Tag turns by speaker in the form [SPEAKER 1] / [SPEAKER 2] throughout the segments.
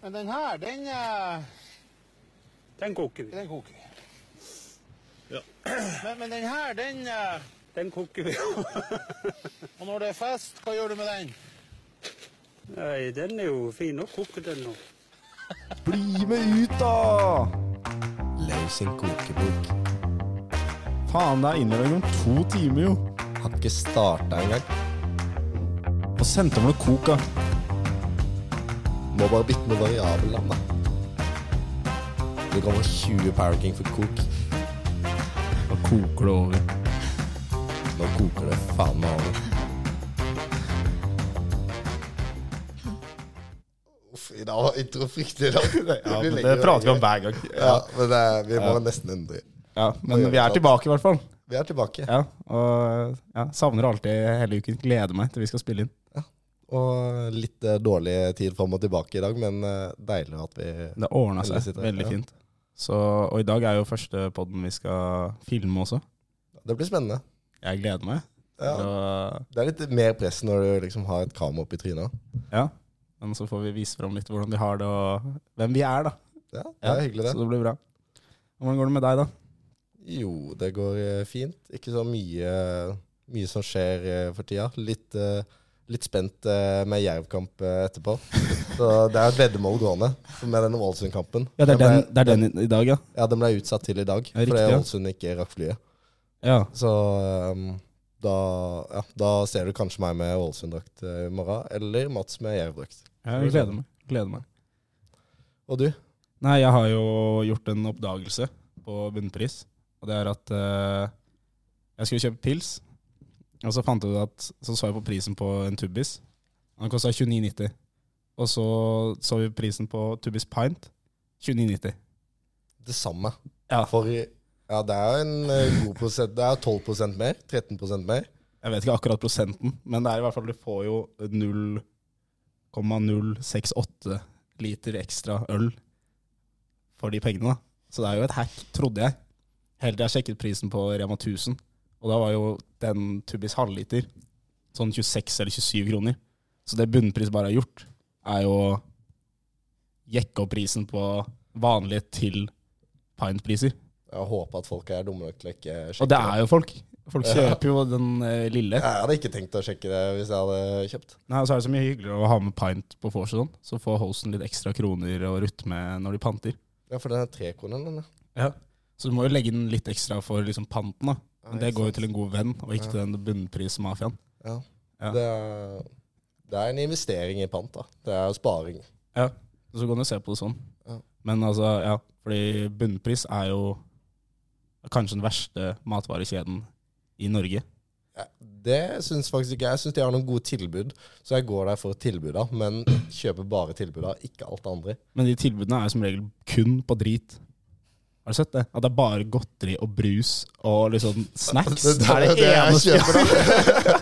[SPEAKER 1] Men den her, den, eh,
[SPEAKER 2] Den koker vi.
[SPEAKER 1] den koker vi.
[SPEAKER 2] Ja.
[SPEAKER 1] Men, men den her, den eh,
[SPEAKER 2] Den koker vi.
[SPEAKER 1] Og når det er fest, hva gjør du med den?
[SPEAKER 2] Nei, den er jo fin å koke den nå.
[SPEAKER 3] Bli med ut, da!
[SPEAKER 4] Leif sin kokebok.
[SPEAKER 3] Faen, det er innlevering om to timer, jo.
[SPEAKER 4] Har ikke starta engang.
[SPEAKER 3] Og sendte meg noe coca.
[SPEAKER 4] Må bare bytte med variabelland, da. Det kommer 20 Power King for kok.
[SPEAKER 3] Da koker det over.
[SPEAKER 4] Nå koker det faen meg over. Uff, I dag var intro fryktelig lang.
[SPEAKER 3] Ja, men Det prater vi om hver gang.
[SPEAKER 4] Ja, men det, er- vi må nesten endre.
[SPEAKER 3] Ja, Men vi er tilbake, i hvert fall.
[SPEAKER 4] Vi er tilbake.
[SPEAKER 3] Ja, og ja, Savner alltid hele uken. Gleder meg til vi skal spille inn.
[SPEAKER 4] Og litt eh, dårlig tid fram og tilbake i dag, men eh, deilig at vi
[SPEAKER 3] Det ordna
[SPEAKER 4] Veldig
[SPEAKER 3] seg
[SPEAKER 4] sitt, ja.
[SPEAKER 3] veldig
[SPEAKER 4] Ja.
[SPEAKER 3] fint. Så, og i dag er jo første podden vi skal filme også.
[SPEAKER 4] Det blir spennende.
[SPEAKER 3] Jeg gleder meg.
[SPEAKER 4] Ja.
[SPEAKER 3] Og,
[SPEAKER 4] Det er litt mer press når du liksom har et kamera oppi trynet.
[SPEAKER 3] ja. Men så får vi vise fram litt hvordan vi har det, og hvem vi er, da.
[SPEAKER 4] Ja, det er hyggelig, det.
[SPEAKER 3] Så det blir bra. Hvordan går det med deg, da?
[SPEAKER 4] Jo, det går eh, fint. Ikke så mye, mye som skjer eh, for tida. Litt, eh, litt spent eh, med Jerv-kamp eh, etterpå. Så det er et veddemål gående med den Ålesund-kampen.
[SPEAKER 3] Ja, Det er
[SPEAKER 4] ble-
[SPEAKER 3] den, det er den i- i dag, ja.
[SPEAKER 4] Ja, den ble utsatt til i dag,
[SPEAKER 3] Ja, riktig,
[SPEAKER 4] fordi
[SPEAKER 3] ja.
[SPEAKER 4] Ålesund ikke rakk flyet.
[SPEAKER 3] ja.
[SPEAKER 4] Så eh, da, ja, da ser du kanskje meg med Ålesund-drakt eh, i morgen, eller Mats med Jerv-drakt.
[SPEAKER 3] Jeg gleder meg. gleder meg.
[SPEAKER 4] Og du?
[SPEAKER 3] Nei, jeg har jo gjort en oppdagelse på bunnpris. Og det er at eh, jeg skulle kjøpe pils, og så fant jeg ut at Så så jeg på prisen på en tubbis. Den kosta 29,90. Og så så vi prisen på tubbis pint. 29,90.
[SPEAKER 4] Det samme.
[SPEAKER 3] Ja.
[SPEAKER 4] For ja, det er en eh, god prosent. Det er 12 mer. 13 mer.
[SPEAKER 3] Jeg vet ikke akkurat prosenten, men det er i hvert fall du får jo 0,068 liter ekstra øl for de pengene. da. Så det er jo et hack, trodde jeg. Helt til jeg sjekket prisen på Rema 1000, og da var jo den tubbis halvliter sånn 26 eller 27 kroner. Så det bunnpris bare har gjort, er jo å jekke opp prisen på vanlige til pintpriser.
[SPEAKER 4] Jeg håper at folk er dumme nok til å ikke sjekke
[SPEAKER 3] Og det er jo folk. Folk kjøper jo den eh, lille.
[SPEAKER 4] Jeg hadde ikke tenkt å sjekke det hvis jeg hadde kjøpt.
[SPEAKER 3] Nei, og så er det så mye hyggeligere å ha med pint på vors og sånn. Så får hosten litt ekstra kroner å rutte med når de panter.
[SPEAKER 4] Ja, for den er trekronen, den. ja.
[SPEAKER 3] Så du må jo legge den litt ekstra for liksom panten, da. Men det
[SPEAKER 4] ikke
[SPEAKER 3] går jo
[SPEAKER 4] sant.
[SPEAKER 3] til en god venn, og ikke til den bunnprismafiaen. ja.
[SPEAKER 4] Det er, det er en investering i pant, da. Det er jo sparing.
[SPEAKER 3] Ja. Så kan du se på det sånn.
[SPEAKER 4] Ja.
[SPEAKER 3] Men altså, ja. Fordi bunnpris er jo kanskje den verste matvarekjeden i Norge.
[SPEAKER 4] Ja, Det syns faktisk ikke jeg. Jeg syns de har noen gode tilbud, så jeg går der for tilbuda, men kjøper bare tilbuda, ikke alt det andre.
[SPEAKER 3] Men de tilbudene er jo som regel kun på drit. Har du sett det? At det er bare godteri og brus og liksom snacks. Det er det eneste
[SPEAKER 4] jeg kjøper, da.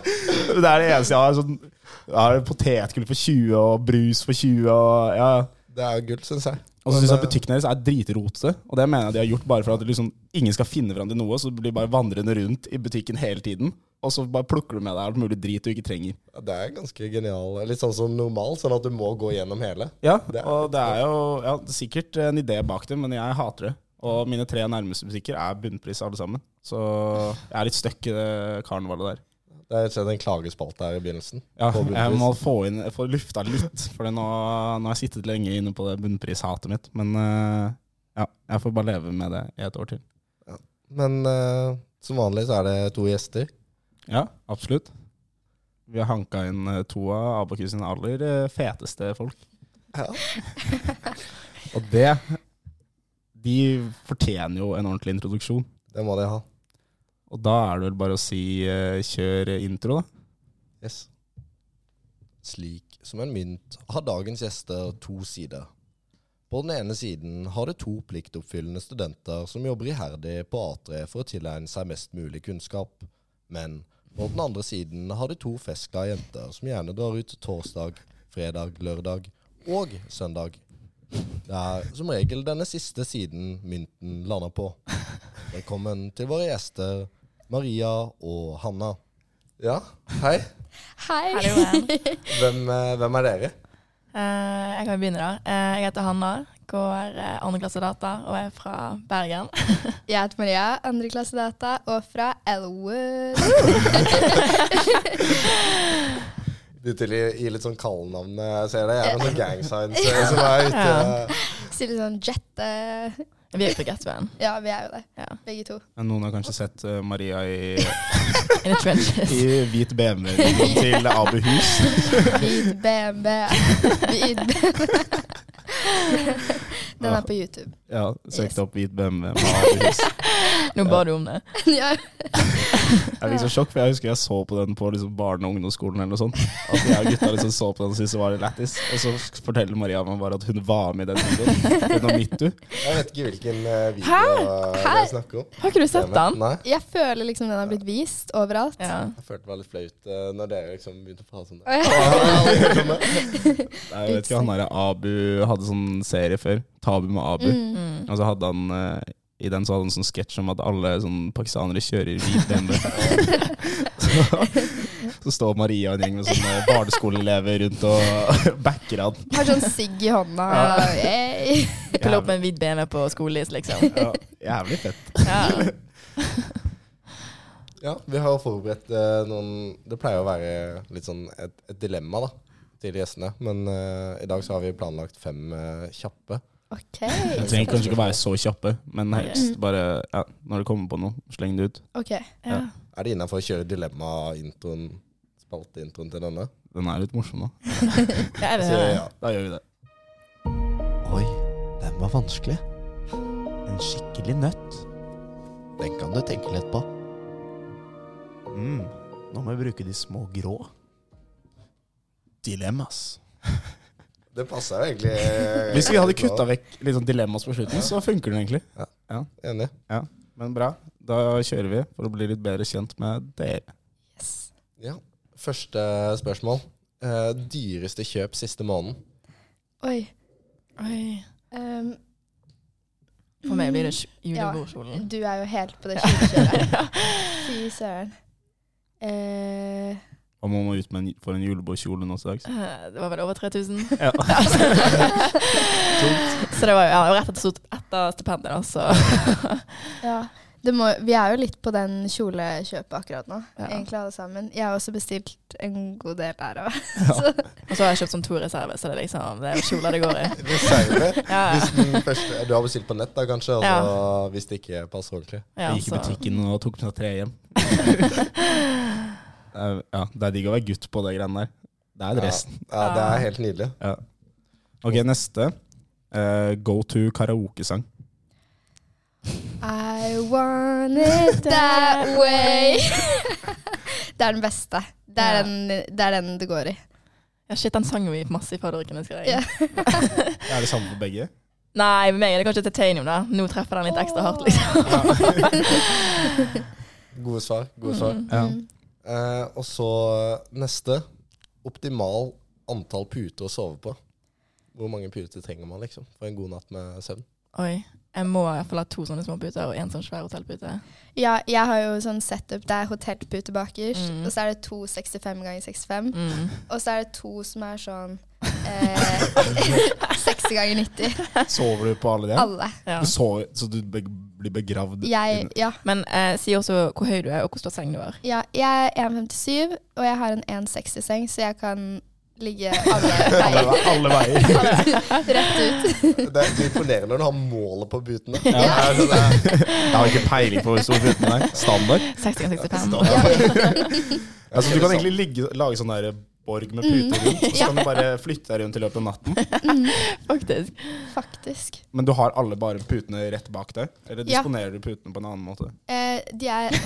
[SPEAKER 3] Det er det eneste jeg har. Sånn, jeg har potetgull for 20, og brus for 20. Og, ja. eh,
[SPEAKER 4] Det er gull, syns jeg.
[SPEAKER 3] og så syns jeg
[SPEAKER 4] Men,
[SPEAKER 3] butikken deres er dritrotete. Og det mener jeg de har gjort bare for at liksom, ingen skal finne fram til noe. Så blir de bare vandrende rundt i butikken hele tiden. Og så bare plukker du med deg alt mulig drit du ikke trenger.
[SPEAKER 4] eh, Det er ganske genial. Litt sånn som normal, sånn at du må gå gjennom hele.
[SPEAKER 3] Ja,
[SPEAKER 4] Det er-
[SPEAKER 3] og det er jo ja, det er sikkert en idé bak det, men jeg hater det. Og mine tre nærmeste butikker er bunnpris alle sammen. Så jeg er litt stuck i det karnevalet der.
[SPEAKER 4] Det er rett og slett en klagespalte her i begynnelsen.
[SPEAKER 3] Ja,
[SPEAKER 4] på bunnpris.
[SPEAKER 3] jeg må få, inn, få lufta litt, for nå, nå har jeg sittet lenge inne på det bunnprishatet mitt. Men eh, ja, jeg får bare leve med det i et år til.
[SPEAKER 4] Men eh, som vanlig så er det to gjester.
[SPEAKER 3] Ja, absolutt. Vi har hanka inn eh, to av Abakus sine aller eh, feteste folk.
[SPEAKER 4] Ja.
[SPEAKER 3] Og det De fortjener jo en ordentlig introduksjon.
[SPEAKER 4] Det må de ha.
[SPEAKER 3] Og da er det vel bare å si eh, kjør intro, da.
[SPEAKER 4] Yes. Slik som en mynt har dagens gjester to sider. På den ene siden har det to pliktoppfyllende studenter som jobber iherdig på A3 for å tilegne seg mest mulig kunnskap. Men på den andre siden har det to festglade jenter som gjerne drar ut torsdag, fredag, lørdag og søndag. Det er som regel denne siste siden mynten lander på. Velkommen til våre gjester Maria og Hanna. Ja, hei.
[SPEAKER 5] Hei.
[SPEAKER 6] Hallo, Ann.
[SPEAKER 4] Hvem, eh, hvem er dere?
[SPEAKER 5] Eh, jeg kan jo begynne, da. Eh, jeg heter Hanna, går eh, andre klasse data og er fra Bergen.
[SPEAKER 6] Jeg heter Maria, andreklassedata og fra Elwood.
[SPEAKER 4] Begynte å gi litt sånn kallenavn. Jeg ser det. Jeg er noen gang signs eh, som er ute.
[SPEAKER 5] Ja.
[SPEAKER 6] Sier litt sånn jet eh,
[SPEAKER 5] Vi er på Getveien.
[SPEAKER 6] Ja, vi er jo det,
[SPEAKER 5] Ja.
[SPEAKER 6] begge to.
[SPEAKER 3] Men noen har kanskje sett eh, Maria i,
[SPEAKER 5] In the trenches.
[SPEAKER 3] i hvit BMW til Abu Hus.
[SPEAKER 6] Hvit BMW. Hvit BMW. Den er på YouTube.
[SPEAKER 3] Ja, søkte opp hvit BMW med Abu Hus.
[SPEAKER 5] Nå ba du om det.
[SPEAKER 6] Ja,
[SPEAKER 3] Jeg fikk så sjokk, for jeg husker jeg så på den på liksom barne- og ungdomsskolen eller noe sånt. At jeg og gutta liksom så på den og syntes det var litt lættis. Og så forteller Maria meg bare at hun var med i den videoen. Den var mitt, du.
[SPEAKER 4] Jeg vet ikke hvilken eh, video eh,
[SPEAKER 6] Hæ?
[SPEAKER 4] jeg snakker om.
[SPEAKER 5] Har ikke du sett den?
[SPEAKER 4] Nei.
[SPEAKER 6] jeg føler liksom den har blitt vist overalt.
[SPEAKER 5] Ja.
[SPEAKER 4] Jeg følte meg litt flaut eh, når dere liksom begynte å prate om det.
[SPEAKER 6] Å, ja.
[SPEAKER 3] Nei, Jeg vet ikke, han der Abu hadde sånn serie før. Tabu med Abu.
[SPEAKER 5] Mm.
[SPEAKER 3] Og så hadde han eh, i den så hadde han sånn sketsj om at alle sånn pakistanere kjører hvit BMW. så, så står Maria og en gjeng med sånne barneskoleelever rundt og backer han.
[SPEAKER 6] Har sånn sigg i hånda.
[SPEAKER 3] Ja.
[SPEAKER 6] Hey.
[SPEAKER 5] Pille opp med en hvit BMW på skolelys, liksom.
[SPEAKER 3] Ja, jævlig fett.
[SPEAKER 5] Ja.
[SPEAKER 4] Ja, vi har jo forberedt eh, noen Det pleier å være litt sånn et, et dilemma da, til gjestene. Men eh, i dag så har vi planlagt fem eh, kjappe.
[SPEAKER 6] OK.
[SPEAKER 3] Jeg trenger kanskje ikke være så kjappe, men helst bare ja, når du kommer på noe, sleng det ut.
[SPEAKER 6] ok.
[SPEAKER 5] Ja.
[SPEAKER 4] Er det innafor å kjøre dilemma-introen? Spalteintroen til denne?
[SPEAKER 3] Den er litt morsom, da.
[SPEAKER 5] Ja, er det
[SPEAKER 4] Så,
[SPEAKER 5] det?
[SPEAKER 4] ja.
[SPEAKER 3] Da gjør vi det.
[SPEAKER 4] Oi, den var vanskelig.
[SPEAKER 3] En skikkelig nøtt.
[SPEAKER 4] Den kan du tenke litt på.
[SPEAKER 3] Mm. Nå må vi bruke de små grå. Dilemmas.
[SPEAKER 4] Det passer jo egentlig. eh,
[SPEAKER 3] Hvis vi hadde
[SPEAKER 4] bra.
[SPEAKER 3] kutta vekk litt sånn dilemmas på slutten, så funker den egentlig.
[SPEAKER 4] Enig.
[SPEAKER 3] Men bra. Da kjører vi for å bli litt bedre kjent med dere.
[SPEAKER 6] Yes.
[SPEAKER 4] Ja. Første spørsmål. Eh, dyreste kjøp siste måneden?
[SPEAKER 6] Oi.
[SPEAKER 5] Oi.
[SPEAKER 6] Um,
[SPEAKER 5] For meg blir det
[SPEAKER 6] Ja.
[SPEAKER 5] julebordkjolen.
[SPEAKER 6] Du er jo helt på det kjøpekjøret. Fy søren. Eh,
[SPEAKER 3] Og man må ut med en, for en julebordkjole nå til dags.
[SPEAKER 5] Eh, Det var vel over 3000.
[SPEAKER 3] Ja.
[SPEAKER 5] så det var jo ja, det var rett etter, stort- etter stipendet, da, så
[SPEAKER 6] ja. Det må, vi er jo litt på den kjolekjøpet akkurat nå,
[SPEAKER 5] Ja.
[SPEAKER 6] egentlig alle sammen. Jeg har også bestilt en god del der òg.
[SPEAKER 5] Og så har jeg kjøpt sånn to reserver, så det er liksom det er kjoler det går i.
[SPEAKER 4] Reserve?
[SPEAKER 5] Ja,
[SPEAKER 4] Hvis den første, du har bestilt på nett, da kanskje, og så hvis det ikke passer ordentlig.
[SPEAKER 5] ja,
[SPEAKER 3] Jeg gikk i
[SPEAKER 5] så-
[SPEAKER 3] butikken og tok med seg tre hjem. Det er- Ja, det er digg å være gutt på det greiene der. Det er dressen.
[SPEAKER 4] Ja, ja, det er helt nydelig.
[SPEAKER 3] Ok, neste. Eh, go to karaokesang.
[SPEAKER 6] I want it that way. det er den beste. Det er,
[SPEAKER 5] Ja.
[SPEAKER 6] den, det er den det går i.
[SPEAKER 5] Ja, shit, den sangen vi masse i fadderuken, husker jeg.
[SPEAKER 6] Ja.
[SPEAKER 3] Det er det samme for begge.
[SPEAKER 5] Nei, med meg er det kanskje titanium, da. Nå treffer den litt ekstra hardt, liksom.
[SPEAKER 4] Gode svar. Gode svar.
[SPEAKER 3] Ja.
[SPEAKER 6] Mm.
[SPEAKER 4] Eh, og så neste. Optimal antall puter å sove på. Hvor mange puter trenger man liksom for en god natt med søvn?
[SPEAKER 5] Oi. Jeg må i hvert fall ha to sånne små puter og en sånn svær hotellpute.
[SPEAKER 6] Ja, jeg har jo sånn setup. Det er hotellpute bakerst,
[SPEAKER 5] Mm.
[SPEAKER 6] og så er det to 65 ganger 65.
[SPEAKER 5] Mm.
[SPEAKER 6] Og så er det to som er sånn eh, 60 ganger 90.
[SPEAKER 3] Sover du på alle de?
[SPEAKER 6] Alle.
[SPEAKER 5] Ja.
[SPEAKER 3] Du sover, så du be blir begravd
[SPEAKER 6] Jeg,
[SPEAKER 3] inn-
[SPEAKER 6] ja,
[SPEAKER 5] Men eh, si også hvor høy du er, og hvor stor seng du har.
[SPEAKER 6] ja, jeg er 1,57, og jeg har en 1,60-seng, så jeg kan ligge alle
[SPEAKER 3] alle,
[SPEAKER 6] veier.
[SPEAKER 3] ve- alle veier.
[SPEAKER 6] Rett ut.
[SPEAKER 4] Det er det er imponerende når du har målet på putene.
[SPEAKER 3] Ja.
[SPEAKER 4] Det er sånn der-
[SPEAKER 3] Jeg har ikke peiling på hvor stor puten er. Standard.
[SPEAKER 5] 60 ganger 65.
[SPEAKER 3] Altså, du kan egentlig ligge, lage sånn der borg med puter rundt, og så kan du bare flytte deg rundt i løpet av natten.
[SPEAKER 5] Faktisk.
[SPEAKER 6] Faktisk.
[SPEAKER 3] Men du har alle bare putene rett bak deg? Eller
[SPEAKER 6] Ja.
[SPEAKER 3] disponerer du putene på en annen måte?
[SPEAKER 6] Eh, de, er,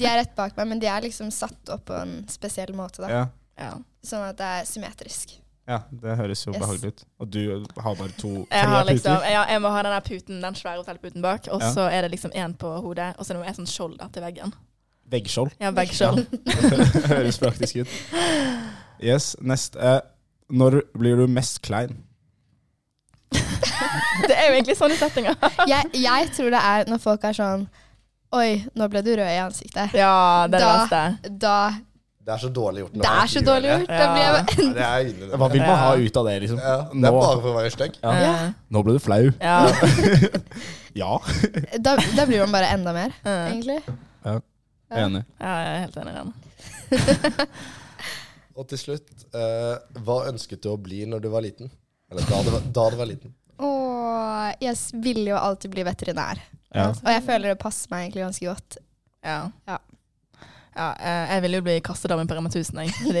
[SPEAKER 6] de er rett bak meg, men de er liksom satt opp på en spesiell måte, da.
[SPEAKER 3] Ja.
[SPEAKER 5] Ja.
[SPEAKER 6] Sånn at det er symmetrisk.
[SPEAKER 3] ja, det høres jo
[SPEAKER 6] Yes.
[SPEAKER 3] behagelig ut. Og du har bare to, tre
[SPEAKER 5] Jeg, har liksom,
[SPEAKER 3] puter?
[SPEAKER 5] ja, jeg må ha den der puten, den svære hotellputen bak, og
[SPEAKER 3] Ja.
[SPEAKER 5] så er det liksom én på hodet, og så er det et sånt skjold da, til veggen.
[SPEAKER 3] Veggskjold.
[SPEAKER 5] Ja, veggskjold.
[SPEAKER 3] Høres praktisk ut. Yes, neste er Når blir du mest klein?
[SPEAKER 5] Det er jo egentlig sånne settinger.
[SPEAKER 6] Jeg, jeg tror det er når folk er sånn Oi, nå ble du rød i ansiktet.
[SPEAKER 5] Ja, det er det
[SPEAKER 6] Da-
[SPEAKER 5] verste.
[SPEAKER 6] Da
[SPEAKER 4] Det er så dårlig gjort. når
[SPEAKER 6] Det
[SPEAKER 4] man
[SPEAKER 6] er så dårlig
[SPEAKER 4] gjør
[SPEAKER 6] gjort. Da blir jeg
[SPEAKER 4] det. Ja, det er ille. det.
[SPEAKER 3] Hva vil man ha ut av det, liksom?
[SPEAKER 4] Ja, det er
[SPEAKER 3] Nå,
[SPEAKER 4] bare for å være stygg.
[SPEAKER 3] Ja. nå ble du flau.
[SPEAKER 5] Eh, Ja.
[SPEAKER 3] Ja.
[SPEAKER 6] bare- da, da blir man bare enda mer,
[SPEAKER 5] Ja.
[SPEAKER 6] egentlig.
[SPEAKER 3] Enig.
[SPEAKER 5] Eh, Ja, jeg er helt enig i den.
[SPEAKER 4] Og til slutt, eh, hva ønsket du å bli når du var liten? Eller da du var, da du var liten?
[SPEAKER 6] Og jeg s- ville jo alltid bli veterinær.
[SPEAKER 3] Ja.
[SPEAKER 6] Og jeg føler det passer meg egentlig ganske godt.
[SPEAKER 5] Ja.
[SPEAKER 6] Ja.
[SPEAKER 5] Ja, eh, jeg ville jo bli kastedame på Rema 1000, jeg. Fordi-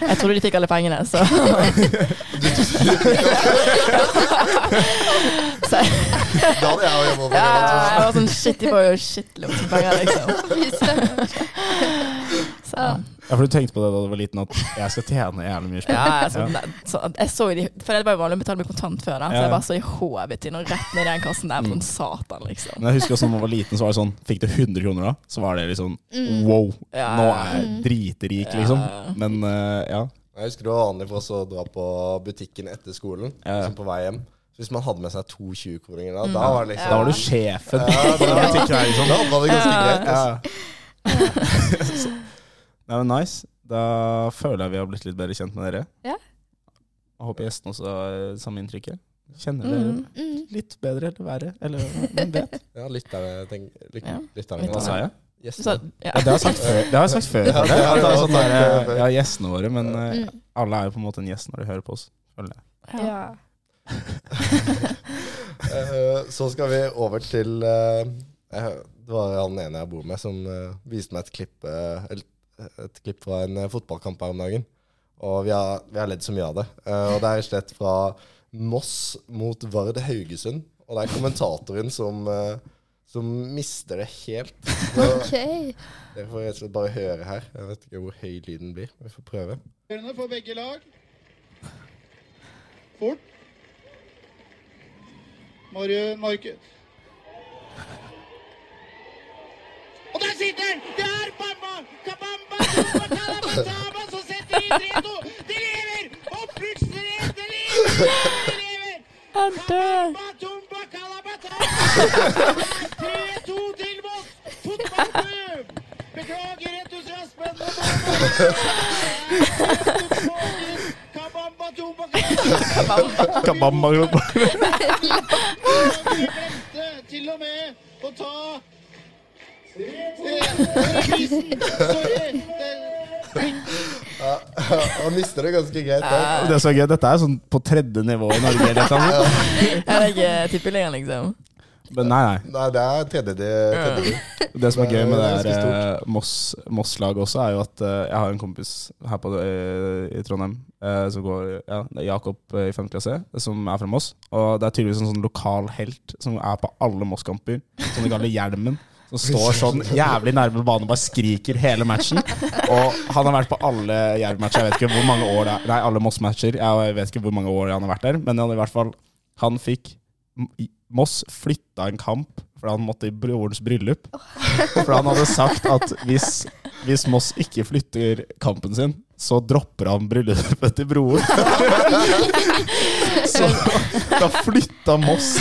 [SPEAKER 5] jeg trodde de fikk alle pengene, så Så
[SPEAKER 4] Da hadde jeg jo jobba på
[SPEAKER 5] ja,
[SPEAKER 4] Rema
[SPEAKER 5] jeg var sånn shit, de får jo shitloads med penger, liksom. Så
[SPEAKER 3] ja, for du tenkte på det da du var liten, at jeg skal tjene jævlig mye spenn.
[SPEAKER 5] Ja, altså. jeg så, så, jeg så jo de, for det var jo vanlig å betale med kontant før, da, så
[SPEAKER 3] Ja. Mm.
[SPEAKER 5] jeg bare så i hodet til og rett ned i den kassen der, sånn satan, liksom.
[SPEAKER 3] Men jeg husker også når man var liten, så var det sånn Fikk du 100 kroner da, så var det liksom
[SPEAKER 6] Mm.
[SPEAKER 3] wow,
[SPEAKER 5] Ja.
[SPEAKER 3] nå er jeg dritrik, liksom. Men eh, ja.
[SPEAKER 4] Jeg husker det var vanlig for oss å dra på butikken etter skolen,
[SPEAKER 3] Ja.
[SPEAKER 4] som på vei hjem. Så hvis man hadde med seg to 20-kroninger da, da var det liksom
[SPEAKER 3] Da var du sjefen.
[SPEAKER 4] Ja, da var det,
[SPEAKER 3] liksom?
[SPEAKER 4] da var det ganske greit. Altså.
[SPEAKER 3] Ja. Så- Nei, men nice. Da føler jeg vi har blitt litt bedre kjent med dere.
[SPEAKER 6] Ja.
[SPEAKER 3] Jeg håper gjestene også har eh, samme inntrykket. Kjenner dere
[SPEAKER 5] Mm.
[SPEAKER 6] Mm.
[SPEAKER 3] litt bedre eller verre, eller hvem vet?
[SPEAKER 4] Ja, lytterne tenk, lyt,
[SPEAKER 5] Ja.
[SPEAKER 4] lytterne
[SPEAKER 3] Hva sa jeg?
[SPEAKER 5] Så,
[SPEAKER 4] Gjestene.
[SPEAKER 5] ja.
[SPEAKER 3] Ja, det har jeg sagt før. Det har jeg sagt før.
[SPEAKER 4] Ja,
[SPEAKER 3] føler jeg.
[SPEAKER 4] det har
[SPEAKER 3] At det
[SPEAKER 4] du
[SPEAKER 3] er
[SPEAKER 4] også
[SPEAKER 3] sånn der,
[SPEAKER 4] sagt før.
[SPEAKER 3] eh, ja, gjestene våre, men eh,
[SPEAKER 6] Mm.
[SPEAKER 3] alle er jo på en måte en gjest når de hører på oss. føler jeg.
[SPEAKER 5] Ja.
[SPEAKER 6] Ja.
[SPEAKER 4] Eh, Så skal vi over til eh, jeg- Det var han ene jeg bor med, som eh, viste meg et klipp, eh, el- et klipp fra en eh, fotballkamp her om dagen. Og vi har, vi har ledd så mye av det. Eh, Og det er rett og slett fra Moss mot Vard Haugesund. Og det er kommentatoren som, eh, som mister det helt. Så
[SPEAKER 6] Ok.
[SPEAKER 4] Dere får rett og slett bare høre her. Jeg vet ikke hvor høy lyden blir. Vi får prøve.
[SPEAKER 1] Spillerne for begge lag. Fort. Marju, Marku... Og der sitter den! Det er Bamba! Kabamba! Kabamba, e Kalabazaba, Så setter de 3-2! De lever! Og plutselig de lever! De lever!
[SPEAKER 5] Jeg dør.
[SPEAKER 1] Kabamba, Tumba, Kalabazaba! 3-2 til Moss fotballklubb! Beklager entusiasmen. men Kabamba, Tumba, Kalabazaba! Vi glemte til og med å ta Prisen! Sorry! det-
[SPEAKER 4] Han mister det ganske greit. da.
[SPEAKER 3] Det er så gøy. Dette er sånn på tredje nivå i Norge. eller et eller annet.
[SPEAKER 5] Er det ikke tippeligaen, liksom?
[SPEAKER 3] Men nei, nei.
[SPEAKER 4] Nei, det er tredje tredje div.
[SPEAKER 3] Det som er gøy med
[SPEAKER 4] Det er
[SPEAKER 3] det
[SPEAKER 4] ganske
[SPEAKER 3] her, eh, Moss- Moss-laget også, er jo at eh, jeg har en kompis her på, eh, i Trondheim eh, som går ja, det er Jakob eh, i 5. klasse, som er fra Moss. Og det er tydeligvis en sånn lokal helt som er på alle Moss-kamper, som de kaller Hjelmen. Som står sånn jævlig nærme banen og bare skriker hele matchen. Og han har vært på alle Jerv-matcher, jeg vet ikke hvor mange år det er. Nei, alle Moss-matcher. Jeg vet ikke hvor mange år han har vært der, men han, i hvert fall, han fikk Moss flytta en kamp fordi han måtte i brorens bryllup. For han hadde sagt at hvis, hvis Moss ikke flytter kampen sin, så dropper han bryllupet til broren. Så da flytta Moss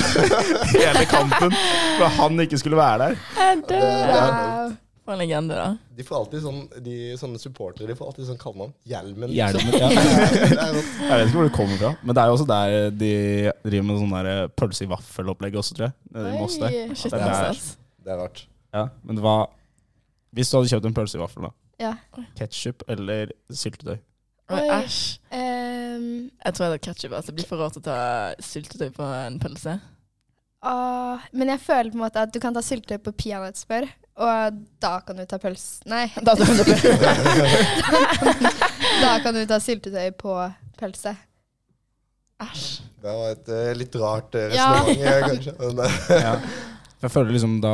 [SPEAKER 3] hele kampen for han ikke skulle være der.
[SPEAKER 6] Wow.
[SPEAKER 5] For en legende, da.
[SPEAKER 4] De får alltid sånn, de, sånne supportere de får alltid sånn kallenavn. Hjelmen. liksom.
[SPEAKER 3] Hjelmen, ja.
[SPEAKER 4] Det er rått.
[SPEAKER 3] Jeg vet ikke hvor det kommer fra, men det er jo også der de driver med sånn der pølse i vaffel-opplegg også, tror jeg. Nede i Moss der.
[SPEAKER 6] Oi.
[SPEAKER 5] Shit,
[SPEAKER 3] Det er
[SPEAKER 5] det er
[SPEAKER 3] der.
[SPEAKER 5] stas.
[SPEAKER 4] Det er rart.
[SPEAKER 3] Ja, men hva Hvis du hadde kjøpt en pølse i vaffel, da.
[SPEAKER 6] Ja.
[SPEAKER 3] Ketsjup eller syltetøy?
[SPEAKER 5] Men
[SPEAKER 6] Oi.
[SPEAKER 5] Æsj.
[SPEAKER 6] Ehm,
[SPEAKER 5] Jeg tror jeg hadde ketsjup. Altså, det blir for rart å ta syltetøy på en pølse.
[SPEAKER 6] ah, men jeg føler på en måte at du kan ta syltetøy på peanøttsmør, og da kan du ta pøls... Nei,
[SPEAKER 5] Da tar du det.
[SPEAKER 6] da kan du ta syltetøy på pølse.
[SPEAKER 5] Æsj.
[SPEAKER 4] Det var et eh, litt rart uh,
[SPEAKER 6] Ja.
[SPEAKER 4] resonnement, kanskje. Men, eh,
[SPEAKER 3] Ja. For Jeg føler liksom da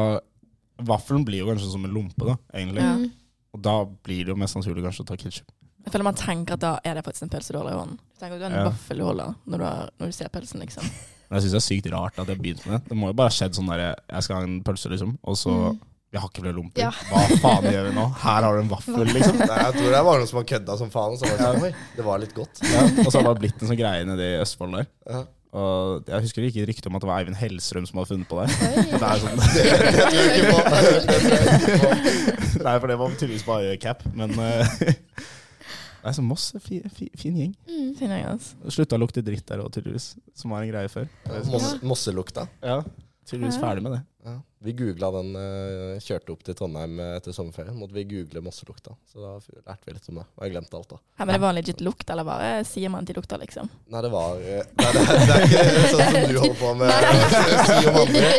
[SPEAKER 3] Vaffelen blir jo kanskje som en lompe, da, egentlig.
[SPEAKER 5] Ja.
[SPEAKER 6] Mm.
[SPEAKER 3] Og da blir det jo mest sannsynlig kanskje å ta ketsjup.
[SPEAKER 5] Jeg føler man tenker at da er det faktisk en pølse du holder i hånden. Du tenker at du har en
[SPEAKER 3] Ja.
[SPEAKER 5] vaffel du holder når du, har, når du ser pølsen, liksom.
[SPEAKER 3] Men jeg syns det er sykt rart at jeg begynte med det. Det må jo bare ha skjedd sånn derre Jeg skal ha en pølse, liksom, og så Vi har ikke flere lomper.
[SPEAKER 6] Ja.
[SPEAKER 3] Hva faen gjør vi nå? Her har du en vaffel, liksom.
[SPEAKER 4] nei, jeg tror det var noen som har kødda som faen. Så var det, sånn, Oi, det var litt godt.
[SPEAKER 3] Ja. Og så har det bare blitt en sånn greie nede i Østfold der.
[SPEAKER 4] Ja.
[SPEAKER 3] Og jeg husker det gikk et rykte om at det var Eivind Hellstrøm som hadde funnet på det.
[SPEAKER 6] Oi.
[SPEAKER 3] Det er sånn,
[SPEAKER 4] Det tror jeg ikke på.
[SPEAKER 3] nei, for det var tydeligvis bare cap, men eh, Nei, så Moss er fi, fi, fin gjeng.
[SPEAKER 5] Finner jeg, altså.
[SPEAKER 3] Slutta å lukte dritt der òg, tydeligvis. Som var en greie før.
[SPEAKER 4] Moss- Mosselukta.
[SPEAKER 3] Ja, Tydeligvis ferdig med det.
[SPEAKER 4] Ja. Vi googla den, eh, kjørte opp til Trondheim eh, etter sommerferien. Måtte vi google Mosselukta. Så da f- lærte vi litt om det. Og jeg glemte alt, da.
[SPEAKER 5] Ja, men det var legit lukt, eller bare sier man at de lukter, liksom?
[SPEAKER 4] Nei, det var eh, Nei, det, er- det er ikke sånn som du holder på med. eh, Si om andre.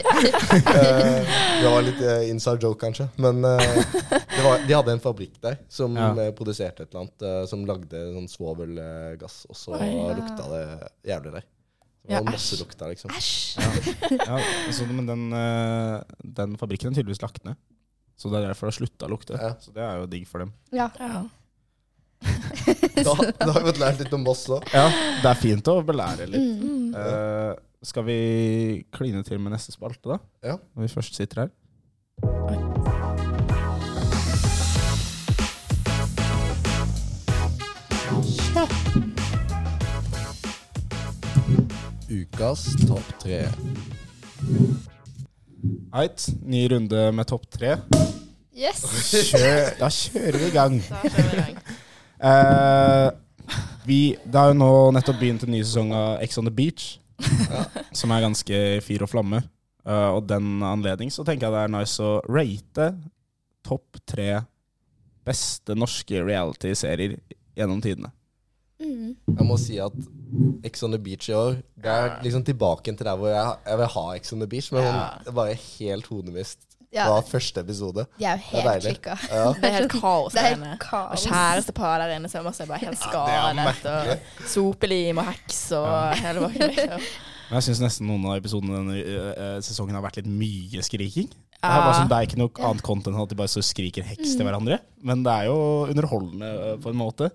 [SPEAKER 4] Eh, Det var litt eh, inside joke, kanskje. Men eh, det var, de hadde en fabrikk der som
[SPEAKER 3] Ja.
[SPEAKER 4] eh, produserte et eller annet. eh, Som lagde sånn svovelgass, og så
[SPEAKER 5] Oi.
[SPEAKER 4] lukta det jævlig der. Det
[SPEAKER 5] Ja,
[SPEAKER 4] var
[SPEAKER 5] æsj.
[SPEAKER 4] masse lukta, liksom.
[SPEAKER 5] Æsj!
[SPEAKER 3] Ja, så, men den, eh, den fabrikken er tydeligvis lagt ned. Så det er derfor det har slutta å lukte.
[SPEAKER 4] Ja.
[SPEAKER 3] Så det er jo digg for dem.
[SPEAKER 6] Ja.
[SPEAKER 5] Ja.
[SPEAKER 4] Da, da har vi fått lært litt om Moss òg.
[SPEAKER 3] Ja, det er fint å belære litt.
[SPEAKER 5] Mm.
[SPEAKER 3] Eh, skal vi kline til med neste spalte, da?
[SPEAKER 4] Ja.
[SPEAKER 3] Når vi først sitter her.
[SPEAKER 4] Ukas topp tre.
[SPEAKER 3] Eit, ny runde med topp tre.
[SPEAKER 6] Yes.
[SPEAKER 3] Kjør, da kjører vi i gang.
[SPEAKER 5] Da kjører vi i gang.
[SPEAKER 3] Eh, vi, det har jo nå nettopp begynt en ny sesong av Ex on the Beach, som er ganske fyr og flamme. Eh, og den anledning så tenker jeg det er nice å rate topp tre beste norske reality-serier gjennom tidene.
[SPEAKER 6] Mm.
[SPEAKER 4] Jeg må si at Ex on the Beach i år Det er liksom tilbake til der hvor jeg, jeg vil ha Ex on the Beach, men
[SPEAKER 5] Ja.
[SPEAKER 4] det er bare helt hodemist
[SPEAKER 6] Ja.
[SPEAKER 4] fra første episode.
[SPEAKER 6] De
[SPEAKER 4] Det
[SPEAKER 6] er jo
[SPEAKER 4] er
[SPEAKER 6] helt
[SPEAKER 4] deilig.
[SPEAKER 6] klikka.
[SPEAKER 4] Ja.
[SPEAKER 5] Det er helt kaos
[SPEAKER 6] Det
[SPEAKER 5] der
[SPEAKER 6] er helt
[SPEAKER 5] inne. Og
[SPEAKER 6] kaos.
[SPEAKER 5] kjærestepar der inne som også er bare helt skadet. og sopelim og heks og hele bakken. liksom.
[SPEAKER 3] Men jeg syns nesten noen av episodene denne eh, sesongen har vært litt mye skriking. Det er, bare sånn, det er ikke noe annet content enn at de bare så skriker heks
[SPEAKER 5] Mm.
[SPEAKER 3] til hverandre. Men det er jo underholdende eh, på en måte.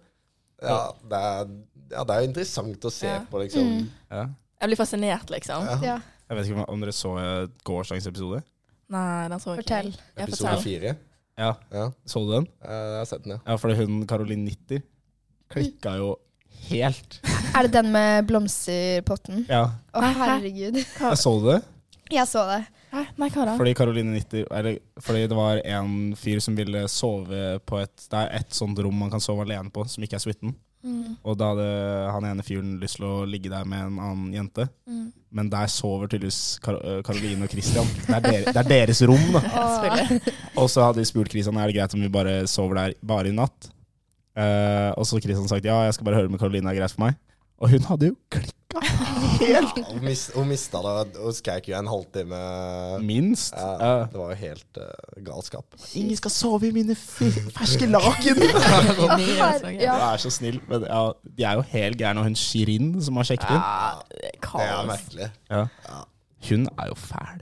[SPEAKER 4] Ja, det er, ja, det er jo interessant å se
[SPEAKER 5] Ja. Mm.
[SPEAKER 4] på, liksom.
[SPEAKER 3] Ja.
[SPEAKER 5] Jeg blir fascinert, liksom.
[SPEAKER 6] Ja,
[SPEAKER 3] Jeg vet ikke om- om dere så eh, gårsdagens episode?
[SPEAKER 5] Nei, den så jeg ikke.
[SPEAKER 6] fortell.
[SPEAKER 5] Ja,
[SPEAKER 4] Episode
[SPEAKER 5] fortell.
[SPEAKER 4] fire.
[SPEAKER 3] Ja,
[SPEAKER 4] Ja,
[SPEAKER 3] Så du den?
[SPEAKER 4] eh, jeg har sett den, ja.
[SPEAKER 3] Ja, fordi hun Caroline Nitter klikka jo helt.
[SPEAKER 6] Er det den med blomsterpotten?
[SPEAKER 3] Ja,
[SPEAKER 6] Å,
[SPEAKER 5] Hæ?
[SPEAKER 6] herregud.
[SPEAKER 3] jeg Så du det?
[SPEAKER 6] Jeg så det.
[SPEAKER 5] Hæ? Nei, hva da?
[SPEAKER 3] Fordi Caroline Nitter eller, Fordi det var en fyr som ville sove på et Det er et sånt rom man kan sove alene på, som ikke er suiten. Og da hadde han ene fyren lyst til å ligge der med en annen jente. Men der sover tydeligvis Kar øh, Caroline og Christian. Det er, dere- det er deres rom, da.
[SPEAKER 6] Åh.
[SPEAKER 3] Og så hadde de spurt Christian er det greit om vi bare sover der bare i natt. Eh, og så hadde Christian sagt ja, jeg skal bare høre med Caroline, det er greit for meg. Og hun hadde jo klikka helt!
[SPEAKER 4] Ja, Hun, mis, hun mista det og skrek jo en halvtime.
[SPEAKER 3] Minst.
[SPEAKER 4] Ja,
[SPEAKER 3] Eh,
[SPEAKER 4] det var jo helt eh, galskap.
[SPEAKER 3] Ingen skal sove i mine fi- ferske laken!
[SPEAKER 5] Inni den
[SPEAKER 6] Ja.
[SPEAKER 5] så-
[SPEAKER 3] Jeg er så snill, men ja, de er jo helt gærne. Og hun Shirin som har sjekket inn,
[SPEAKER 5] Ja, det er
[SPEAKER 4] Det er
[SPEAKER 5] kaos.
[SPEAKER 4] merkelig.
[SPEAKER 3] hun er jo fæl.